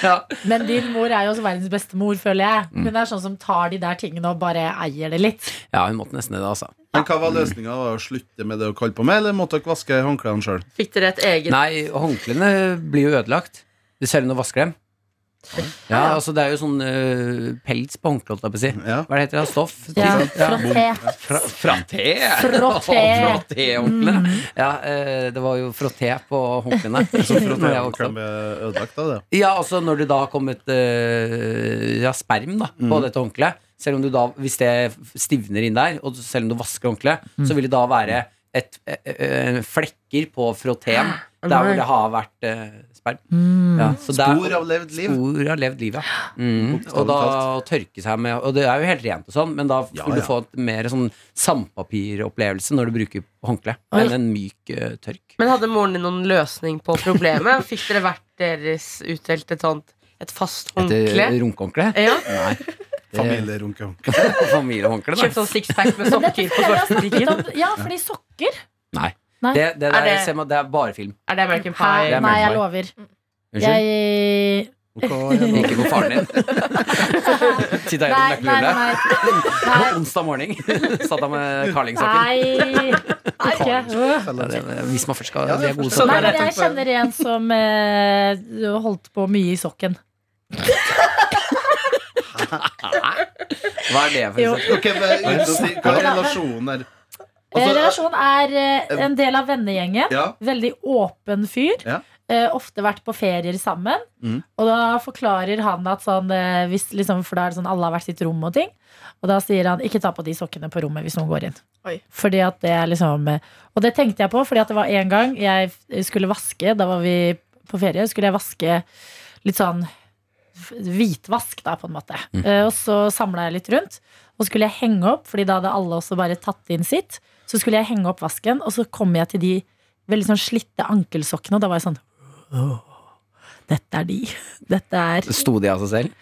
[SPEAKER 2] ja.
[SPEAKER 4] Men din mor er jo også verdens beste mor, føler jeg. Hun er sånn som tar de der tingene og bare eier det litt.
[SPEAKER 2] ja, hun måtte nesten det, altså.
[SPEAKER 3] Men hva var løsninga? Å slutte med det å kalle på meg, eller måtte dere vaske håndklærne sjøl?
[SPEAKER 5] Fikk dere et eget
[SPEAKER 2] Nei, håndklærne blir jo ødelagt. Selv når du vasker dem. Ja, altså Det er jo sånn eh, pels på håndkleet, holdt jeg på å si.
[SPEAKER 3] Ja.
[SPEAKER 2] Hva er det heter det? Stoff?
[SPEAKER 4] Ja,
[SPEAKER 2] Ja.
[SPEAKER 4] Frotté.
[SPEAKER 2] Fra, frotté!
[SPEAKER 4] Frotté. Mm.
[SPEAKER 2] Frotté-håndklærne. Ja, eh, det var jo frotté på håndklærne.
[SPEAKER 3] Så for at
[SPEAKER 2] når jeg
[SPEAKER 3] jeg
[SPEAKER 2] vokste opp.
[SPEAKER 3] ble ødelagt av det.
[SPEAKER 2] Ja, altså når det da har kommet eh, ja, sperm da, på
[SPEAKER 3] Mm.
[SPEAKER 2] dette håndkleet Selv om du da, hvis det stivner inn der Og selv om du vasker håndkleet
[SPEAKER 4] Mm.
[SPEAKER 2] Så vil det da være et, eh, eh, flekker på frottéen Der hvor det har vært eh, Tønsberg.
[SPEAKER 4] Ah, Mm.
[SPEAKER 2] Ja, så der-
[SPEAKER 3] Spor av levd liv.
[SPEAKER 2] Spor av levd liv, ja. Mm.
[SPEAKER 3] Bokstavelig
[SPEAKER 2] Og da å tørke seg med Og det er jo helt rent og sånn, men da vil
[SPEAKER 3] ja.
[SPEAKER 2] du få et mer sånn sandpapiropplevelse når du bruker håndkle
[SPEAKER 5] Oi.
[SPEAKER 2] enn en myk eh, tørk.
[SPEAKER 5] Men hadde moren din noen løsning på problemet? Fikk dere hvert deres utdelt et sånt Et fast håndkle?
[SPEAKER 2] Et eh, runkehåndkle?
[SPEAKER 4] Eh.
[SPEAKER 5] Ja.
[SPEAKER 2] Nei.
[SPEAKER 3] Familierunke.
[SPEAKER 2] Familiehåndkle,
[SPEAKER 5] Kjøpt
[SPEAKER 2] nei.
[SPEAKER 5] sånn sixpack med sokker på svartbutikken?
[SPEAKER 4] Ja, fordi sokker
[SPEAKER 2] nei.
[SPEAKER 4] Nei.
[SPEAKER 2] Det, det,
[SPEAKER 5] Er
[SPEAKER 2] der,
[SPEAKER 5] det-
[SPEAKER 2] ser man, det er bare film.
[SPEAKER 5] Er det American
[SPEAKER 2] Det
[SPEAKER 5] Pie?
[SPEAKER 2] er
[SPEAKER 4] Nei, jeg
[SPEAKER 2] meg.
[SPEAKER 4] lover.
[SPEAKER 2] Unnskyld?
[SPEAKER 4] Jeg
[SPEAKER 2] Ikke på faren din. Sitt her
[SPEAKER 4] Nei,
[SPEAKER 2] og
[SPEAKER 4] nei,
[SPEAKER 2] nøkkelhullet.
[SPEAKER 4] nei.
[SPEAKER 2] På onsdag morgen satt han med Carling-sokken.
[SPEAKER 4] Nei, nei. ikke. Øh.
[SPEAKER 2] Ja, det- Hvis man først skal
[SPEAKER 3] Ja,
[SPEAKER 2] De
[SPEAKER 3] det
[SPEAKER 2] er
[SPEAKER 3] er
[SPEAKER 2] gode
[SPEAKER 3] forstått.
[SPEAKER 4] Nei,
[SPEAKER 2] sokker.
[SPEAKER 4] men jeg kjenner en som eh, holdt på mye i sokken.
[SPEAKER 2] Hva er det for
[SPEAKER 4] Jo.
[SPEAKER 2] eksempel?
[SPEAKER 3] Ok, men, si, Hva er relasjonen her?
[SPEAKER 4] Eh,
[SPEAKER 3] Altså,
[SPEAKER 4] Relasjonen er eh, en del av vennegjengen.
[SPEAKER 3] Ja,
[SPEAKER 4] Veldig åpen fyr.
[SPEAKER 3] Ja.
[SPEAKER 4] Eh, ofte vært på ferier sammen.
[SPEAKER 3] Mm.
[SPEAKER 4] Og da forklarer han at sånn eh, hvis, liksom, For da er det sånn alle har hvert sitt rom og ting. Og da sier han ikke ta på de sokkene på rommet hvis noen går inn.
[SPEAKER 6] Oi.
[SPEAKER 4] Fordi at det er liksom eh, Og det tenkte jeg på, fordi at det var en gang jeg f- skulle vaske Da var vi på ferie. Skulle jeg vaske litt sånn f- hvitvask, da, på en måte. Eh, og så samla jeg litt rundt. Og skulle jeg henge opp, fordi da hadde alle også bare tatt inn sitt. Så skulle jeg henge opp vasken, og så kom jeg til de veldig sånn slitte ankelsokkene, og da var jeg sånn «Åh, Dette er de. Dette er
[SPEAKER 2] Sto de av seg selv?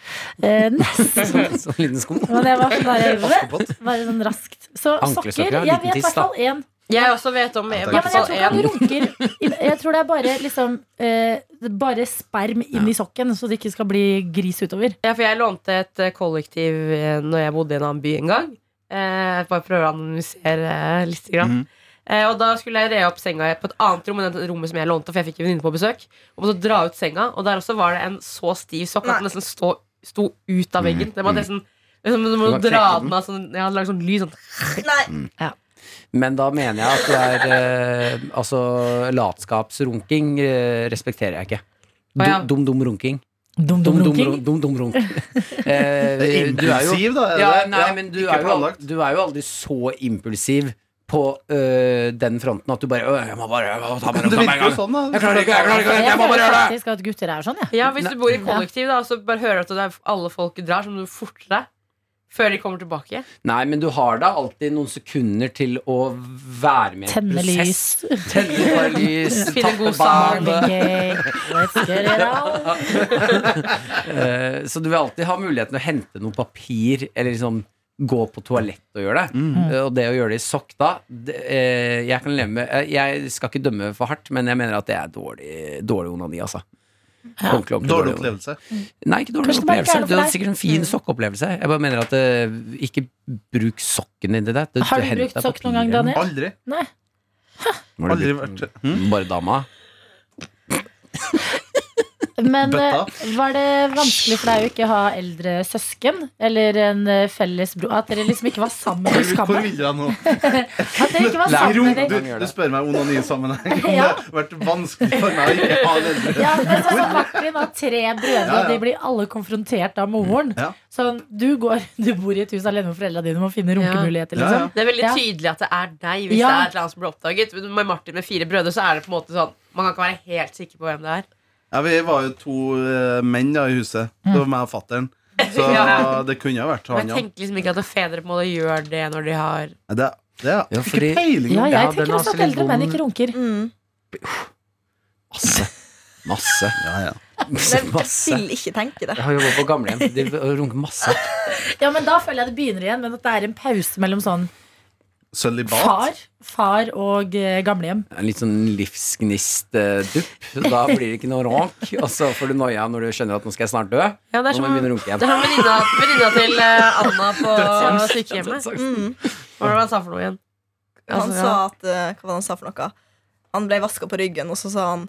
[SPEAKER 4] eh, nesten.
[SPEAKER 2] Sånn liten sko?
[SPEAKER 4] Men jeg var sånn bare,
[SPEAKER 3] Askepott.
[SPEAKER 4] bare sånn raskt. Så
[SPEAKER 2] Ankelsokker,
[SPEAKER 4] sokker
[SPEAKER 2] ja,
[SPEAKER 4] Jeg
[SPEAKER 2] liten
[SPEAKER 4] vet i
[SPEAKER 2] tiss,
[SPEAKER 4] hvert
[SPEAKER 2] da.
[SPEAKER 4] fall én.
[SPEAKER 5] Jeg også vet om i
[SPEAKER 3] Ja,
[SPEAKER 4] Ja,
[SPEAKER 5] hvert
[SPEAKER 4] men jeg
[SPEAKER 5] fall
[SPEAKER 4] tror ikke han
[SPEAKER 5] én.
[SPEAKER 4] runker. Jeg tror det er bare liksom eh, Bare sperm inn i sokken, så det ikke skal bli gris utover.
[SPEAKER 5] Ja, for jeg lånte et eh, kollektiv eh, når jeg bodde i en annen by en gang. Eh, bare prøver å analysere eh, litt. Grann. Eh, og da skulle jeg re opp senga på et annet rom enn det rommet som jeg lånte, for jeg fikk en venninne på besøk. Og måtte dra ut senga, og der også var det en så stiv sokk at den nesten stå, sto ut av veggen. Det var nesten liksom, Du må
[SPEAKER 2] Du kan
[SPEAKER 5] dra
[SPEAKER 2] knekke
[SPEAKER 5] den av sånn Jeg hadde lagd sånn lyd sånn
[SPEAKER 6] Nei,
[SPEAKER 2] Men da mener jeg at det er eh, Altså, latskapsrunking eh, respekterer jeg ikke.
[SPEAKER 5] Å, ja.
[SPEAKER 2] Dum-dum-runking.
[SPEAKER 4] Dum-dum-runking.
[SPEAKER 2] Dum-dum-runk. Eh,
[SPEAKER 3] det er
[SPEAKER 2] du er jo
[SPEAKER 3] impulsiv, da? Er det?
[SPEAKER 2] ja, nei, men du
[SPEAKER 3] ikke
[SPEAKER 2] er, jo,
[SPEAKER 3] planlagt.
[SPEAKER 2] du er jo aldri så impulsiv på øh, den fronten at du bare øh, jeg må bare jeg må ta meg
[SPEAKER 3] Men
[SPEAKER 2] en,
[SPEAKER 3] det
[SPEAKER 2] ta meg en
[SPEAKER 3] virker jo
[SPEAKER 2] gang.
[SPEAKER 3] sånn, da.
[SPEAKER 2] Jeg klarer ikke, jeg klarer ikke,
[SPEAKER 4] Jeg
[SPEAKER 2] jeg må
[SPEAKER 4] føler
[SPEAKER 2] bare gjøre det!
[SPEAKER 4] faktisk at gutter er sånn, jeg.
[SPEAKER 5] Ja, hvis du bor i kollektiv, da, og så bare hører du at det er alle folk drar, så må du forte deg. Før de kommer tilbake.
[SPEAKER 2] Nei, men du har da alltid noen sekunder til å være med i en
[SPEAKER 4] Tenne
[SPEAKER 2] prosess. Tenne et par lys,
[SPEAKER 5] Finne
[SPEAKER 2] tappe
[SPEAKER 5] god sang.
[SPEAKER 2] badet.
[SPEAKER 4] Let's get it out.
[SPEAKER 2] Eh, Så du vil alltid ha muligheten til å hente noe papir, eller liksom gå på toalett og gjøre det.
[SPEAKER 3] Mm.
[SPEAKER 4] Mm.
[SPEAKER 2] Eh, Og det å gjøre det i sokk da det, eh, Jeg kan leve med eh, Jeg skal ikke dømme for hardt, men jeg mener at det er dårlig, dårlig onani, altså. Ordentlig, ordentlig
[SPEAKER 3] Dårlig
[SPEAKER 2] onani.
[SPEAKER 3] opplevelse.
[SPEAKER 2] Nei, ikke dårlig
[SPEAKER 4] Kanskje det bare ikke
[SPEAKER 2] opplevelse.
[SPEAKER 4] er noe for
[SPEAKER 2] Det er
[SPEAKER 4] deg. Mm.
[SPEAKER 2] sikkert en fin sokkeopplevelse. Jeg bare mener at eh, ikke bruk sokken inni det. det
[SPEAKER 4] Har du
[SPEAKER 2] hent
[SPEAKER 4] brukt
[SPEAKER 2] deg
[SPEAKER 4] sokk noen
[SPEAKER 2] papir eller
[SPEAKER 4] gang, Daniel?
[SPEAKER 3] Aldri.
[SPEAKER 2] noe. Har du
[SPEAKER 3] Aldri
[SPEAKER 2] brukt-
[SPEAKER 3] vært hm?
[SPEAKER 2] Bare dama?
[SPEAKER 4] Men
[SPEAKER 3] Bøtta.
[SPEAKER 4] eh, var det vanskelig for deg å ikke ha eldre søsken? Eller en eh, felles bror? At dere liksom ikke var sammen i
[SPEAKER 3] Hvor
[SPEAKER 4] skammen?
[SPEAKER 3] vil dere nå?
[SPEAKER 4] At dere ikke var
[SPEAKER 2] Nei,
[SPEAKER 4] sammen
[SPEAKER 3] Ro-
[SPEAKER 4] i
[SPEAKER 3] Du, du spør meg om onanisammenheng. Om det har vært vanskelig for meg å ikke ha det.
[SPEAKER 4] ja, men sånn som Martin har tre brødre,
[SPEAKER 3] Ja, ja.
[SPEAKER 4] og de blir alle konfrontert av moren.
[SPEAKER 3] Ja.
[SPEAKER 4] Sånn, du, går, du bor i et hus alene med foreldra dine, du må finne runkemuligheter,
[SPEAKER 3] Ja, ja.
[SPEAKER 4] liksom.
[SPEAKER 5] Det er veldig
[SPEAKER 4] Ja.
[SPEAKER 5] tydelig at det er deg hvis
[SPEAKER 4] Ja.
[SPEAKER 5] det er et eller annet som blir oppdaget. Men Med Martin med fire brødre så er det på en måte sånn Man kan ikke være helt sikker på hvem det er.
[SPEAKER 2] Sånn,
[SPEAKER 3] Ja, vi var jo to eh, menn da, i huset. Det var meg og fattern. Så
[SPEAKER 5] Ja.
[SPEAKER 3] det kunne ha vært
[SPEAKER 5] Men
[SPEAKER 3] han,
[SPEAKER 5] jeg
[SPEAKER 3] ja.
[SPEAKER 5] tenker liksom ikke at fedre på en måte gjør det når de har
[SPEAKER 3] Nei, Det, det er
[SPEAKER 2] Ja,
[SPEAKER 3] ikke
[SPEAKER 2] fordi-
[SPEAKER 3] peiling.
[SPEAKER 4] Ja,
[SPEAKER 2] Ja,
[SPEAKER 4] jeg
[SPEAKER 2] den
[SPEAKER 4] tenker
[SPEAKER 2] er
[SPEAKER 4] også
[SPEAKER 2] også
[SPEAKER 4] at
[SPEAKER 2] litt
[SPEAKER 4] eldre menn
[SPEAKER 2] vond.
[SPEAKER 4] ikke runker.
[SPEAKER 3] Mm.
[SPEAKER 2] Masse. Masse.
[SPEAKER 3] Ja, ja.
[SPEAKER 6] det, jeg
[SPEAKER 2] masse.
[SPEAKER 6] vil ikke tenke det.
[SPEAKER 2] Jeg har jobba på gamlehjem. De runker masse.
[SPEAKER 4] Ja, men da føler jeg det begynner igjen, men at det er en pause mellom sånn
[SPEAKER 3] Sølibat.
[SPEAKER 4] far, far og eh, gamlehjem.
[SPEAKER 2] En litt sånn livsgnist-dupp. Da blir det ikke noe ronk. Og så får du noia når du skjønner at nå skal jeg snart dø.
[SPEAKER 5] Ja, det er
[SPEAKER 2] Nå
[SPEAKER 5] som
[SPEAKER 2] må jeg begynne å runke
[SPEAKER 5] det er
[SPEAKER 2] igjen.
[SPEAKER 5] som venninna venninna til eh, Anna på
[SPEAKER 2] sånn,
[SPEAKER 5] sykehjemmet.
[SPEAKER 6] Mm.
[SPEAKER 5] Hva var det han sa for noe igjen?
[SPEAKER 6] Han
[SPEAKER 5] Altså,
[SPEAKER 6] sa at eh, Hva var det han sa for noe? Han ble vaska på ryggen, og så sa han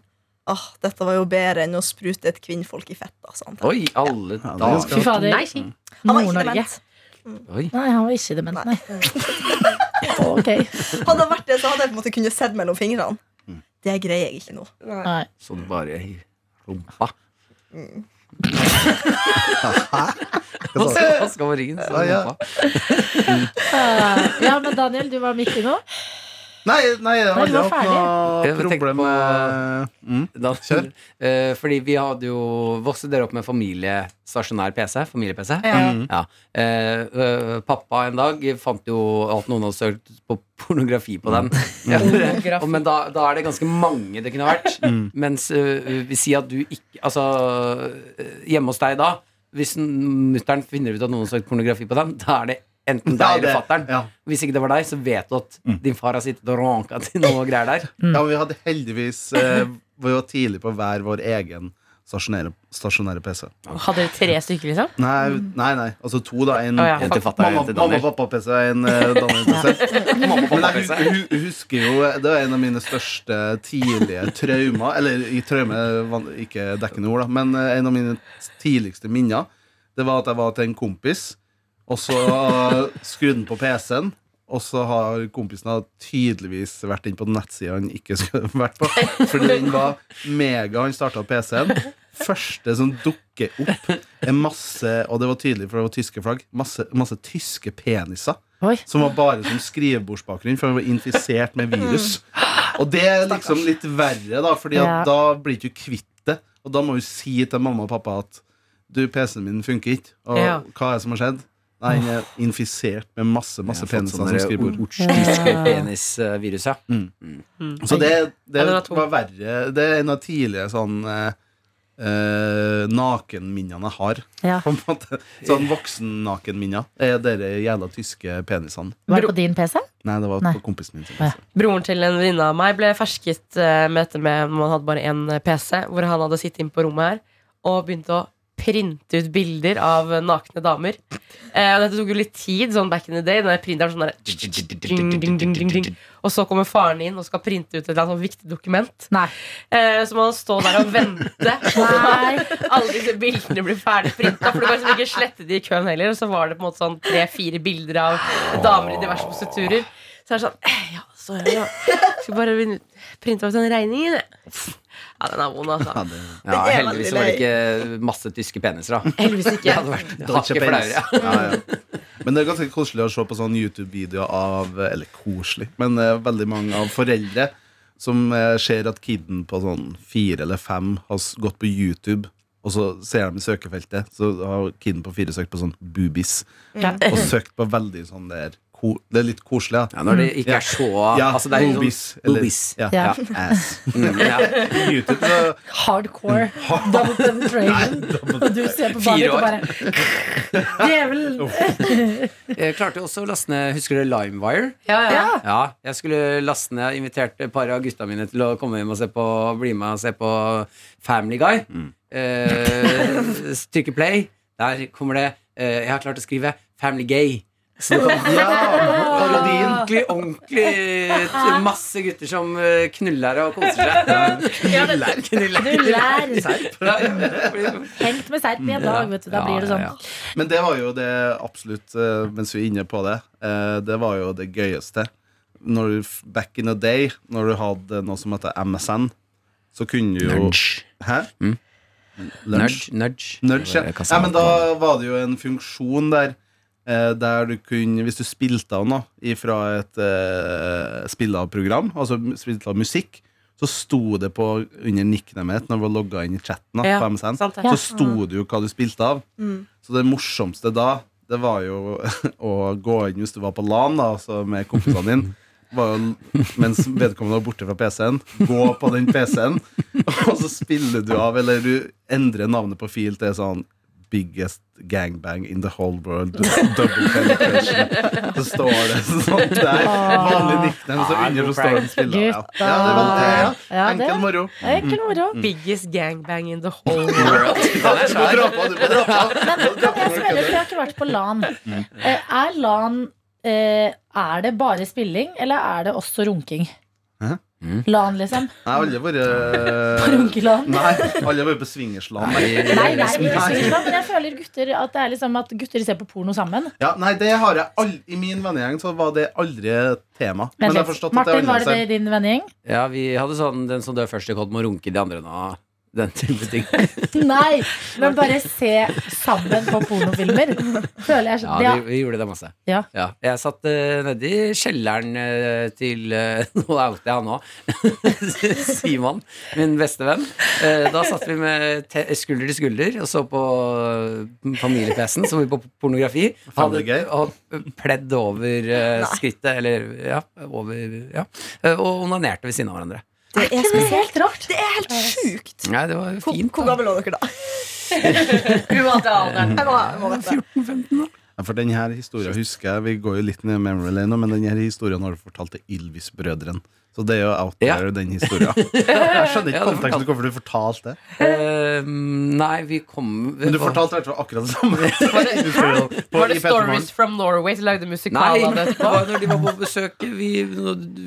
[SPEAKER 6] Åh, dette var jo bedre enn å sprute et kvinnfolk i fett. Da, sa han.
[SPEAKER 2] Oi, alle
[SPEAKER 3] Ja, det er
[SPEAKER 2] dager.
[SPEAKER 4] Fy fader.
[SPEAKER 5] Nei, si.
[SPEAKER 6] Han var ikke
[SPEAKER 4] Nord-Norge.
[SPEAKER 6] dement.
[SPEAKER 2] Oi.
[SPEAKER 4] Nei, han var ikke dement, nei. ok.
[SPEAKER 6] Hadde han vært det, så hadde jeg på en måte kunnet sett mellom fingrene. Det greier jeg ikke nå.
[SPEAKER 4] Nei.
[SPEAKER 2] Så det bare i rumpa.
[SPEAKER 3] Mm.
[SPEAKER 2] Hva skal- hva skal være ringen? Så
[SPEAKER 3] Ja, ja.
[SPEAKER 2] rumpa.
[SPEAKER 4] Eh, Ja, men Daniel, du var midt i noe.
[SPEAKER 3] Nei, nei jeg har
[SPEAKER 4] Nei, du
[SPEAKER 3] aldri
[SPEAKER 4] var
[SPEAKER 3] hatt noe
[SPEAKER 2] Jeg tenkte
[SPEAKER 3] problem
[SPEAKER 2] på-
[SPEAKER 3] med mm.
[SPEAKER 2] Da,
[SPEAKER 3] Kjør.
[SPEAKER 2] Eh, fordi vi hadde jo vokste dere opp med familie stasjonær PC. Familie-PC.
[SPEAKER 4] Ja.
[SPEAKER 3] Mhm.
[SPEAKER 2] Ja. Eh, øh, pappa en dag fant jo at noen hadde søkt på pornografi på den.
[SPEAKER 3] Mhm.
[SPEAKER 2] Ja, og- Men da, da er det ganske mange det kunne vært.
[SPEAKER 3] Mhm.
[SPEAKER 2] Mens øh, vi sier at du ikke Altså, øh, hjemme hos deg da, hvis mutter'n finner ut at noen har søkt pornografi på den, da er det enten deg
[SPEAKER 3] Ja, det-
[SPEAKER 2] eller fatter'n.
[SPEAKER 3] ja. Mhm.
[SPEAKER 2] Hvis ikke det var deg, så vet du at din far har sittet og ranka til noe greier der.
[SPEAKER 3] Ja, vi hadde heldigvis eh, Vi var tidlig på hver vår egen stasjonære, stasjonære PC.
[SPEAKER 5] Hadde dere tre stykker, liksom?
[SPEAKER 3] Nei, nei, nei. altså to, da. En,
[SPEAKER 5] Å, ja.
[SPEAKER 2] En til fatter'n,
[SPEAKER 3] mamma,
[SPEAKER 2] en til
[SPEAKER 3] mamma
[SPEAKER 2] Daniel.
[SPEAKER 3] og pappa-PC og en eh, Daniel-PC.
[SPEAKER 2] Mamma og
[SPEAKER 3] Men
[SPEAKER 2] pappa
[SPEAKER 3] jeg
[SPEAKER 2] PC.
[SPEAKER 3] hu- hu- husker jo eh, Det var en av mine største tidlige traumer. Eller i traume van- ikke dekkende ord, da. Men eh, en av mine tidligste minner Det var at jeg var til en kompis, og så skrudde han på PC-en. Og så har kompisen har tydeligvis vært inne på nettsida han ikke skulle vært på. Fordi den var mega Han starta PC-en. Første som dukker opp, er masse Og det var tydelig, for det var tyske flagg. Masse, masse tyske peniser.
[SPEAKER 4] Oi.
[SPEAKER 3] Som var bare som skrivebordsbakgrunn, for han var infisert med virus. Og det er liksom litt verre, da, Fordi
[SPEAKER 4] Ja.
[SPEAKER 3] at da blir du ikke kvitt det. Og da må du si til mamma og pappa at du, PC-en min funker ikke. Og
[SPEAKER 5] Ja.
[SPEAKER 3] hva er det som har skjedd? Nei, han er infisert med masse, masse peniser som skrivebord.
[SPEAKER 2] Eh. Penisvirus, ja.
[SPEAKER 3] Så det, det
[SPEAKER 5] Ja, den er tung.
[SPEAKER 3] var verre Det er en av tidlige sånn eh, eh, nakenminnene jeg har.
[SPEAKER 4] Ja.
[SPEAKER 3] På en måte. Sånn voksennakenminner. Er dere jævla tyske penisene?
[SPEAKER 4] Var det på din PC?
[SPEAKER 3] Nei, det var
[SPEAKER 4] Nei.
[SPEAKER 3] på kompisen min. sin
[SPEAKER 4] Ja.
[SPEAKER 3] PC.
[SPEAKER 5] Broren til en venninne av meg ble fersket eh, med dette med man hadde bare én PC, hvor han hadde sittet inne på rommet her og begynte å printe ut bilder av eh, nakne damer. Eh, og dette tok jo litt tid, sånn back in the day. Den der printeren sånn der, ding, ding, ding, ding, ding. Og så kommer faren inn og skal printe ut et eller annet sånn viktig dokument.
[SPEAKER 4] Nei.
[SPEAKER 5] Eh, så må han stå der og vente.
[SPEAKER 4] Nei.
[SPEAKER 5] Alle disse bildene blir ferdig printa. For du kan liksom ikke slette de i køen heller. Og så var det på en måte sånn tre-fire bilder av damer i diverse positurer. Så er det sånn eh, Ja, så er det ja. Skal bare vin- printe opp den regningen, jeg. Ja, den er vond, altså.
[SPEAKER 3] Ja, det,
[SPEAKER 2] Ja,
[SPEAKER 6] Det er
[SPEAKER 2] heldigvis
[SPEAKER 6] veldig
[SPEAKER 2] var det ikke masse tyske peniser, da.
[SPEAKER 5] Heldigvis
[SPEAKER 2] Det
[SPEAKER 5] ikke.
[SPEAKER 2] hadde vært
[SPEAKER 3] Deutsche
[SPEAKER 2] hakket
[SPEAKER 3] penis.
[SPEAKER 2] flauere.
[SPEAKER 3] Ja, ja. Men det er ganske koselig å se på sånne YouTube-videoer av Eller koselig, men eh, veldig mange av foreldre som eh, ser at kiden på sånn fire eller fem har s- gått på YouTube, og så ser de i søkefeltet, så har kiden på fire søkt på sånn boobies,
[SPEAKER 5] Ja.
[SPEAKER 2] Mm.
[SPEAKER 3] og søkt på veldig sånn der ko Det er litt koselig, ja.
[SPEAKER 2] Ja, når det ikke er så
[SPEAKER 3] Ja,
[SPEAKER 2] altså, det er jo sånn-
[SPEAKER 3] boobies. eller-
[SPEAKER 2] boobies.
[SPEAKER 3] Ja,
[SPEAKER 4] Ja.
[SPEAKER 3] Ass.
[SPEAKER 2] Mm, ja.
[SPEAKER 3] På YouTube så
[SPEAKER 4] Hardcore.
[SPEAKER 3] Mm.
[SPEAKER 4] Double penetration. Og du ser på barnet
[SPEAKER 2] Fire
[SPEAKER 4] ditt og
[SPEAKER 2] år.
[SPEAKER 4] bare Djevelen!
[SPEAKER 2] Jeg klarte jo også å laste ned Husker dere Limewire?
[SPEAKER 5] Ja, ja.
[SPEAKER 2] Ja, jeg skulle laste ned Jeg inviterte et par av gutta mine til å komme hjem og se på bli med og se på Family Guy.
[SPEAKER 3] Mm.
[SPEAKER 2] Eh, Stykket Play. Der kommer det eh, Jeg har klart å skrive Family Gay. Så det kommer
[SPEAKER 3] Ja! Parodien.
[SPEAKER 2] ordentlig, ordentlig t- masse gutter som eh, knuller og koser seg. Knuller?
[SPEAKER 4] Knuller.
[SPEAKER 2] Ja, ja.
[SPEAKER 4] Hengt med serp i en dag, vet du. Da
[SPEAKER 2] Ja,
[SPEAKER 4] blir det sånn.
[SPEAKER 2] ja,
[SPEAKER 3] Men det var jo det absolutt eh, Mens vi er inne på det eh, Det var jo det gøyeste når du, f- Back in the day Når du hadde noe som heter MSN Så kunne du jo Hæ?
[SPEAKER 2] Mm.
[SPEAKER 3] Lunch
[SPEAKER 2] Nudge. Nudge.
[SPEAKER 3] Nudge, ja. ja, men da var det jo en funksjon der eh, Der du kunne, hvis du spilte av noe Ifra et eh, spillet av program Altså m- spilte av musikk Så sto det på under nicknamet Når du var logget inn i chatten da,
[SPEAKER 5] Ja,
[SPEAKER 3] på MSN
[SPEAKER 5] sant det.
[SPEAKER 3] Så sto det jo hva du spilte av
[SPEAKER 4] Mm.
[SPEAKER 3] Så det morsomste da Det var jo å gå inn hvis du var på LAN da, altså Med kompisene dine var jo, mens vedkommende var borte fra PC-en Gå på den PC-en Og så spiller du av Eller du endrer navnet på fil til sånn Biggest gangbang in the whole world Double penetration Så står det sånn der Vanlig
[SPEAKER 4] Ah.
[SPEAKER 3] nickname, så under så står det en spiller ja. ja, det var det
[SPEAKER 4] Ja,
[SPEAKER 3] ja.
[SPEAKER 4] det-
[SPEAKER 3] Enkel moro
[SPEAKER 4] Det er ikke moro.
[SPEAKER 5] Biggest gangbang in the whole world.
[SPEAKER 3] Du må dra på, du må dra på
[SPEAKER 4] Men kan jeg som ellers, for jeg har ikke vært på LAN.
[SPEAKER 2] Mm.
[SPEAKER 4] Eh, Er LAN eh, Er det bare spilling, eller er det også runking?
[SPEAKER 3] Hæ?
[SPEAKER 2] Mm.
[SPEAKER 4] LAN, liksom.
[SPEAKER 3] Nei, alle
[SPEAKER 4] På
[SPEAKER 3] vært
[SPEAKER 4] Runkeland.
[SPEAKER 3] eh, Nei, alle har vært på swingersland.
[SPEAKER 2] liksom
[SPEAKER 4] Nei, nei, men jeg
[SPEAKER 3] Nei.
[SPEAKER 4] synes ikke, men jeg føler gutter at det er liksom at gutter ser på porno sammen.
[SPEAKER 3] Ja, nei, det har jeg aldri, I min vennegjeng så var det aldri et tema.
[SPEAKER 4] Vent
[SPEAKER 3] Men jeg har
[SPEAKER 4] litt.
[SPEAKER 3] forstått at det er
[SPEAKER 4] Martin, var det det
[SPEAKER 3] annerledes.
[SPEAKER 4] i din vennegjeng?
[SPEAKER 2] Ja, vi hadde sånn Den som dør først i kodd, må runke de andre nå. Den type ting.
[SPEAKER 4] Nei, men bare se sammen på pornofilmer. Føler
[SPEAKER 2] Ja,
[SPEAKER 4] jeg sånn. Ja,
[SPEAKER 2] vi, vi gjorde det masse.
[SPEAKER 4] Ja.
[SPEAKER 2] Jeg satt uh, nedi kjelleren eh, til eh, Nå outer jeg han òg. Simon, min beste venn. Eh, da satt vi med te skulder til skulder og så på eh, familie-PC-en, som vi på pornografi.
[SPEAKER 3] Family Guy.
[SPEAKER 2] og pledd over eh, skrittet, eller ja, over Ja. Eh, og onanerte ved siden av hverandre.
[SPEAKER 6] Det er
[SPEAKER 4] det er helt rart.
[SPEAKER 6] Det er helt sjukt.
[SPEAKER 2] Nei, det var
[SPEAKER 6] Hvor,
[SPEAKER 2] fint.
[SPEAKER 6] hvor gammel var dere da?
[SPEAKER 5] Du må alltid ha alderen.
[SPEAKER 6] Jeg var, jeg var rett der.
[SPEAKER 3] Ja, for denne historien husker jeg Vi går jo litt ned i memory lane nå, men denne historien har du fortalt til Ylvis-brødren. Så det er jo out
[SPEAKER 2] Ja.
[SPEAKER 3] there, den historien. Jeg skjønner
[SPEAKER 2] Ja,
[SPEAKER 3] ikke
[SPEAKER 2] du
[SPEAKER 3] konteksten
[SPEAKER 2] fortalte-
[SPEAKER 3] hvorfor du fortalte det.
[SPEAKER 2] Eh, nei, vi kom
[SPEAKER 3] Men du fortalte i hvert fall akkurat det samme. som Ylvis-brødren på-
[SPEAKER 5] Var
[SPEAKER 3] i
[SPEAKER 5] det
[SPEAKER 3] Petter Morgen.
[SPEAKER 5] Stories from Norway som lagde musikal
[SPEAKER 2] Nei,
[SPEAKER 5] av det
[SPEAKER 2] det
[SPEAKER 5] etterpå?
[SPEAKER 2] var når de var på besøk. Vi,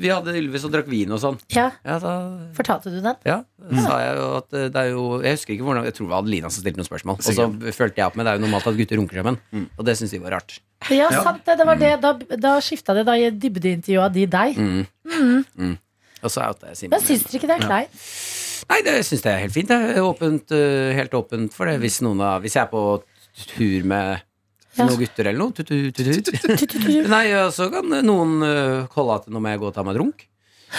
[SPEAKER 2] vi hadde Ylvis og drakk vin og sånn. Mm.
[SPEAKER 4] Ja,
[SPEAKER 2] Ja, da
[SPEAKER 4] Fortalte du den?
[SPEAKER 2] ja, da sa jeg jo at eh, det er jo Jeg husker ikke hvordan Jeg tror det var Adelina som stilte noen spørsmål. Og så
[SPEAKER 3] Sikkert.
[SPEAKER 2] følte jeg opp med det er jo normalt at gutter runker sammen. Og det syns de var rart.
[SPEAKER 4] Ja,
[SPEAKER 3] Ja.
[SPEAKER 4] sant det. det var det. Da, da skifta det. Da dybdeintervjua de deg.
[SPEAKER 2] Mm. Mm. Og så outa jeg Simen.
[SPEAKER 4] Men syns dere ikke det er kleint?
[SPEAKER 2] Nei, det syns jeg er helt fint. Det er åpent, eh, helt åpent for det hvis noen av Hvis jeg er på tur med
[SPEAKER 4] Ja.
[SPEAKER 2] noen gutter eller noe. Tut, tut, tut, tut. Nei, ja, så kan noen eh, holde at nå må jeg gå og ta meg en runk.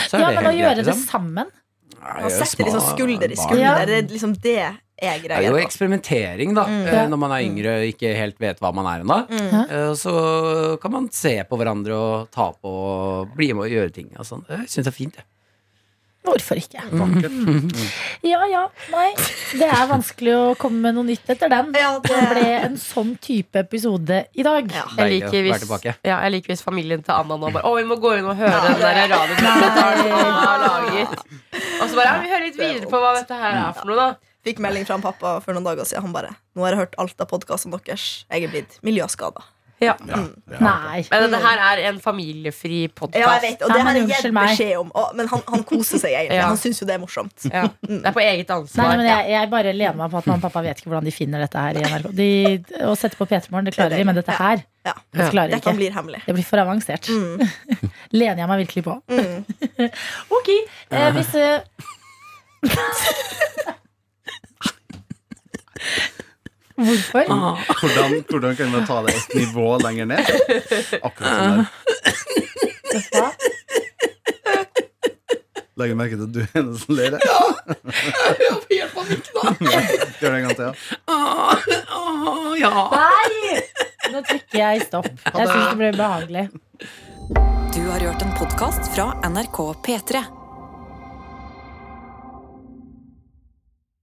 [SPEAKER 2] Så er
[SPEAKER 4] Ja,
[SPEAKER 2] det
[SPEAKER 4] men å
[SPEAKER 2] helt greit,
[SPEAKER 4] gjøre det
[SPEAKER 2] liksom.
[SPEAKER 4] sammen.
[SPEAKER 2] Nei, jeg
[SPEAKER 6] Man
[SPEAKER 2] er jo
[SPEAKER 6] setter liksom
[SPEAKER 2] smal-
[SPEAKER 6] skulder i
[SPEAKER 2] barn.
[SPEAKER 6] skulder.
[SPEAKER 4] Ja.
[SPEAKER 6] Det er liksom det er
[SPEAKER 2] Det er
[SPEAKER 6] greia.
[SPEAKER 2] jo eksperimentering, da.
[SPEAKER 6] Mm.
[SPEAKER 2] eh,
[SPEAKER 4] Ja.
[SPEAKER 2] Når man er yngre og ikke helt vet hva man er ennå.
[SPEAKER 6] Mm.
[SPEAKER 2] Eh, Så kan man se på hverandre og ta på og bli med og gjøre ting. Og sånn. Jeg syns det er fint, jeg.
[SPEAKER 4] Hvorfor ikke? Ja ja, nei. Det er vanskelig å komme med noe nytt etter den.
[SPEAKER 6] Ja,
[SPEAKER 4] Det ble
[SPEAKER 6] det
[SPEAKER 4] en sånn type episode i dag.
[SPEAKER 6] Ja.
[SPEAKER 2] Deilig å
[SPEAKER 5] Jeg liker,
[SPEAKER 2] være
[SPEAKER 5] hvis,
[SPEAKER 2] tilbake.
[SPEAKER 5] ja, jeg liker hvis familien til Anna nå bare Å, vi må gå inn og høre den der radiodokumentaren som Anna har laget. Og så bare ja, vi hører litt videre på hva dette her er for noe, da.
[SPEAKER 6] Fikk melding fra han pappa for noen dager siden. Han bare 'Nå har jeg hørt alt av podkasten deres. Jeg er blitt miljøskada'.
[SPEAKER 5] Ja.
[SPEAKER 4] Nei.
[SPEAKER 5] Men dette her er en familiefri
[SPEAKER 6] Ja, jeg
[SPEAKER 5] podkast.
[SPEAKER 6] vet, og det
[SPEAKER 4] Nei,
[SPEAKER 6] har
[SPEAKER 4] men
[SPEAKER 6] jeg
[SPEAKER 4] unnskyld
[SPEAKER 6] gitt
[SPEAKER 4] meg.
[SPEAKER 6] beskjed om. Og, men han, han koser seg egentlig.
[SPEAKER 5] Ja.
[SPEAKER 6] Han syns jo det er morsomt.
[SPEAKER 5] Ja. Det er på eget
[SPEAKER 4] Nei,
[SPEAKER 5] ansvar.
[SPEAKER 4] men jeg, jeg bare lener meg på at mamma og pappa vet ikke hvordan de finner dette her i NRK. De, å sette på P3morgen, det klarer de, men dette her
[SPEAKER 6] Ja.
[SPEAKER 4] det klarer de
[SPEAKER 6] Det kan
[SPEAKER 4] ikke.
[SPEAKER 6] bli Mm. hemmelig.
[SPEAKER 4] Det blir for avansert. Lener jeg meg virkelig på.
[SPEAKER 6] Mm.
[SPEAKER 4] ok, eh, hvis eh, Hvorfor?
[SPEAKER 6] Ah.
[SPEAKER 3] Hvordan, hvordan kan man ta det et nivå lenger ned? Akkurat sånn der.
[SPEAKER 4] Hva?
[SPEAKER 3] Legger merke til at du er den som ler. Ja. Gjør det en gang til, ja.
[SPEAKER 4] Nei! Nå trykker jeg stopp. Jeg syns det ble behagelig.
[SPEAKER 1] Du har hørt en podkast fra NRK P3.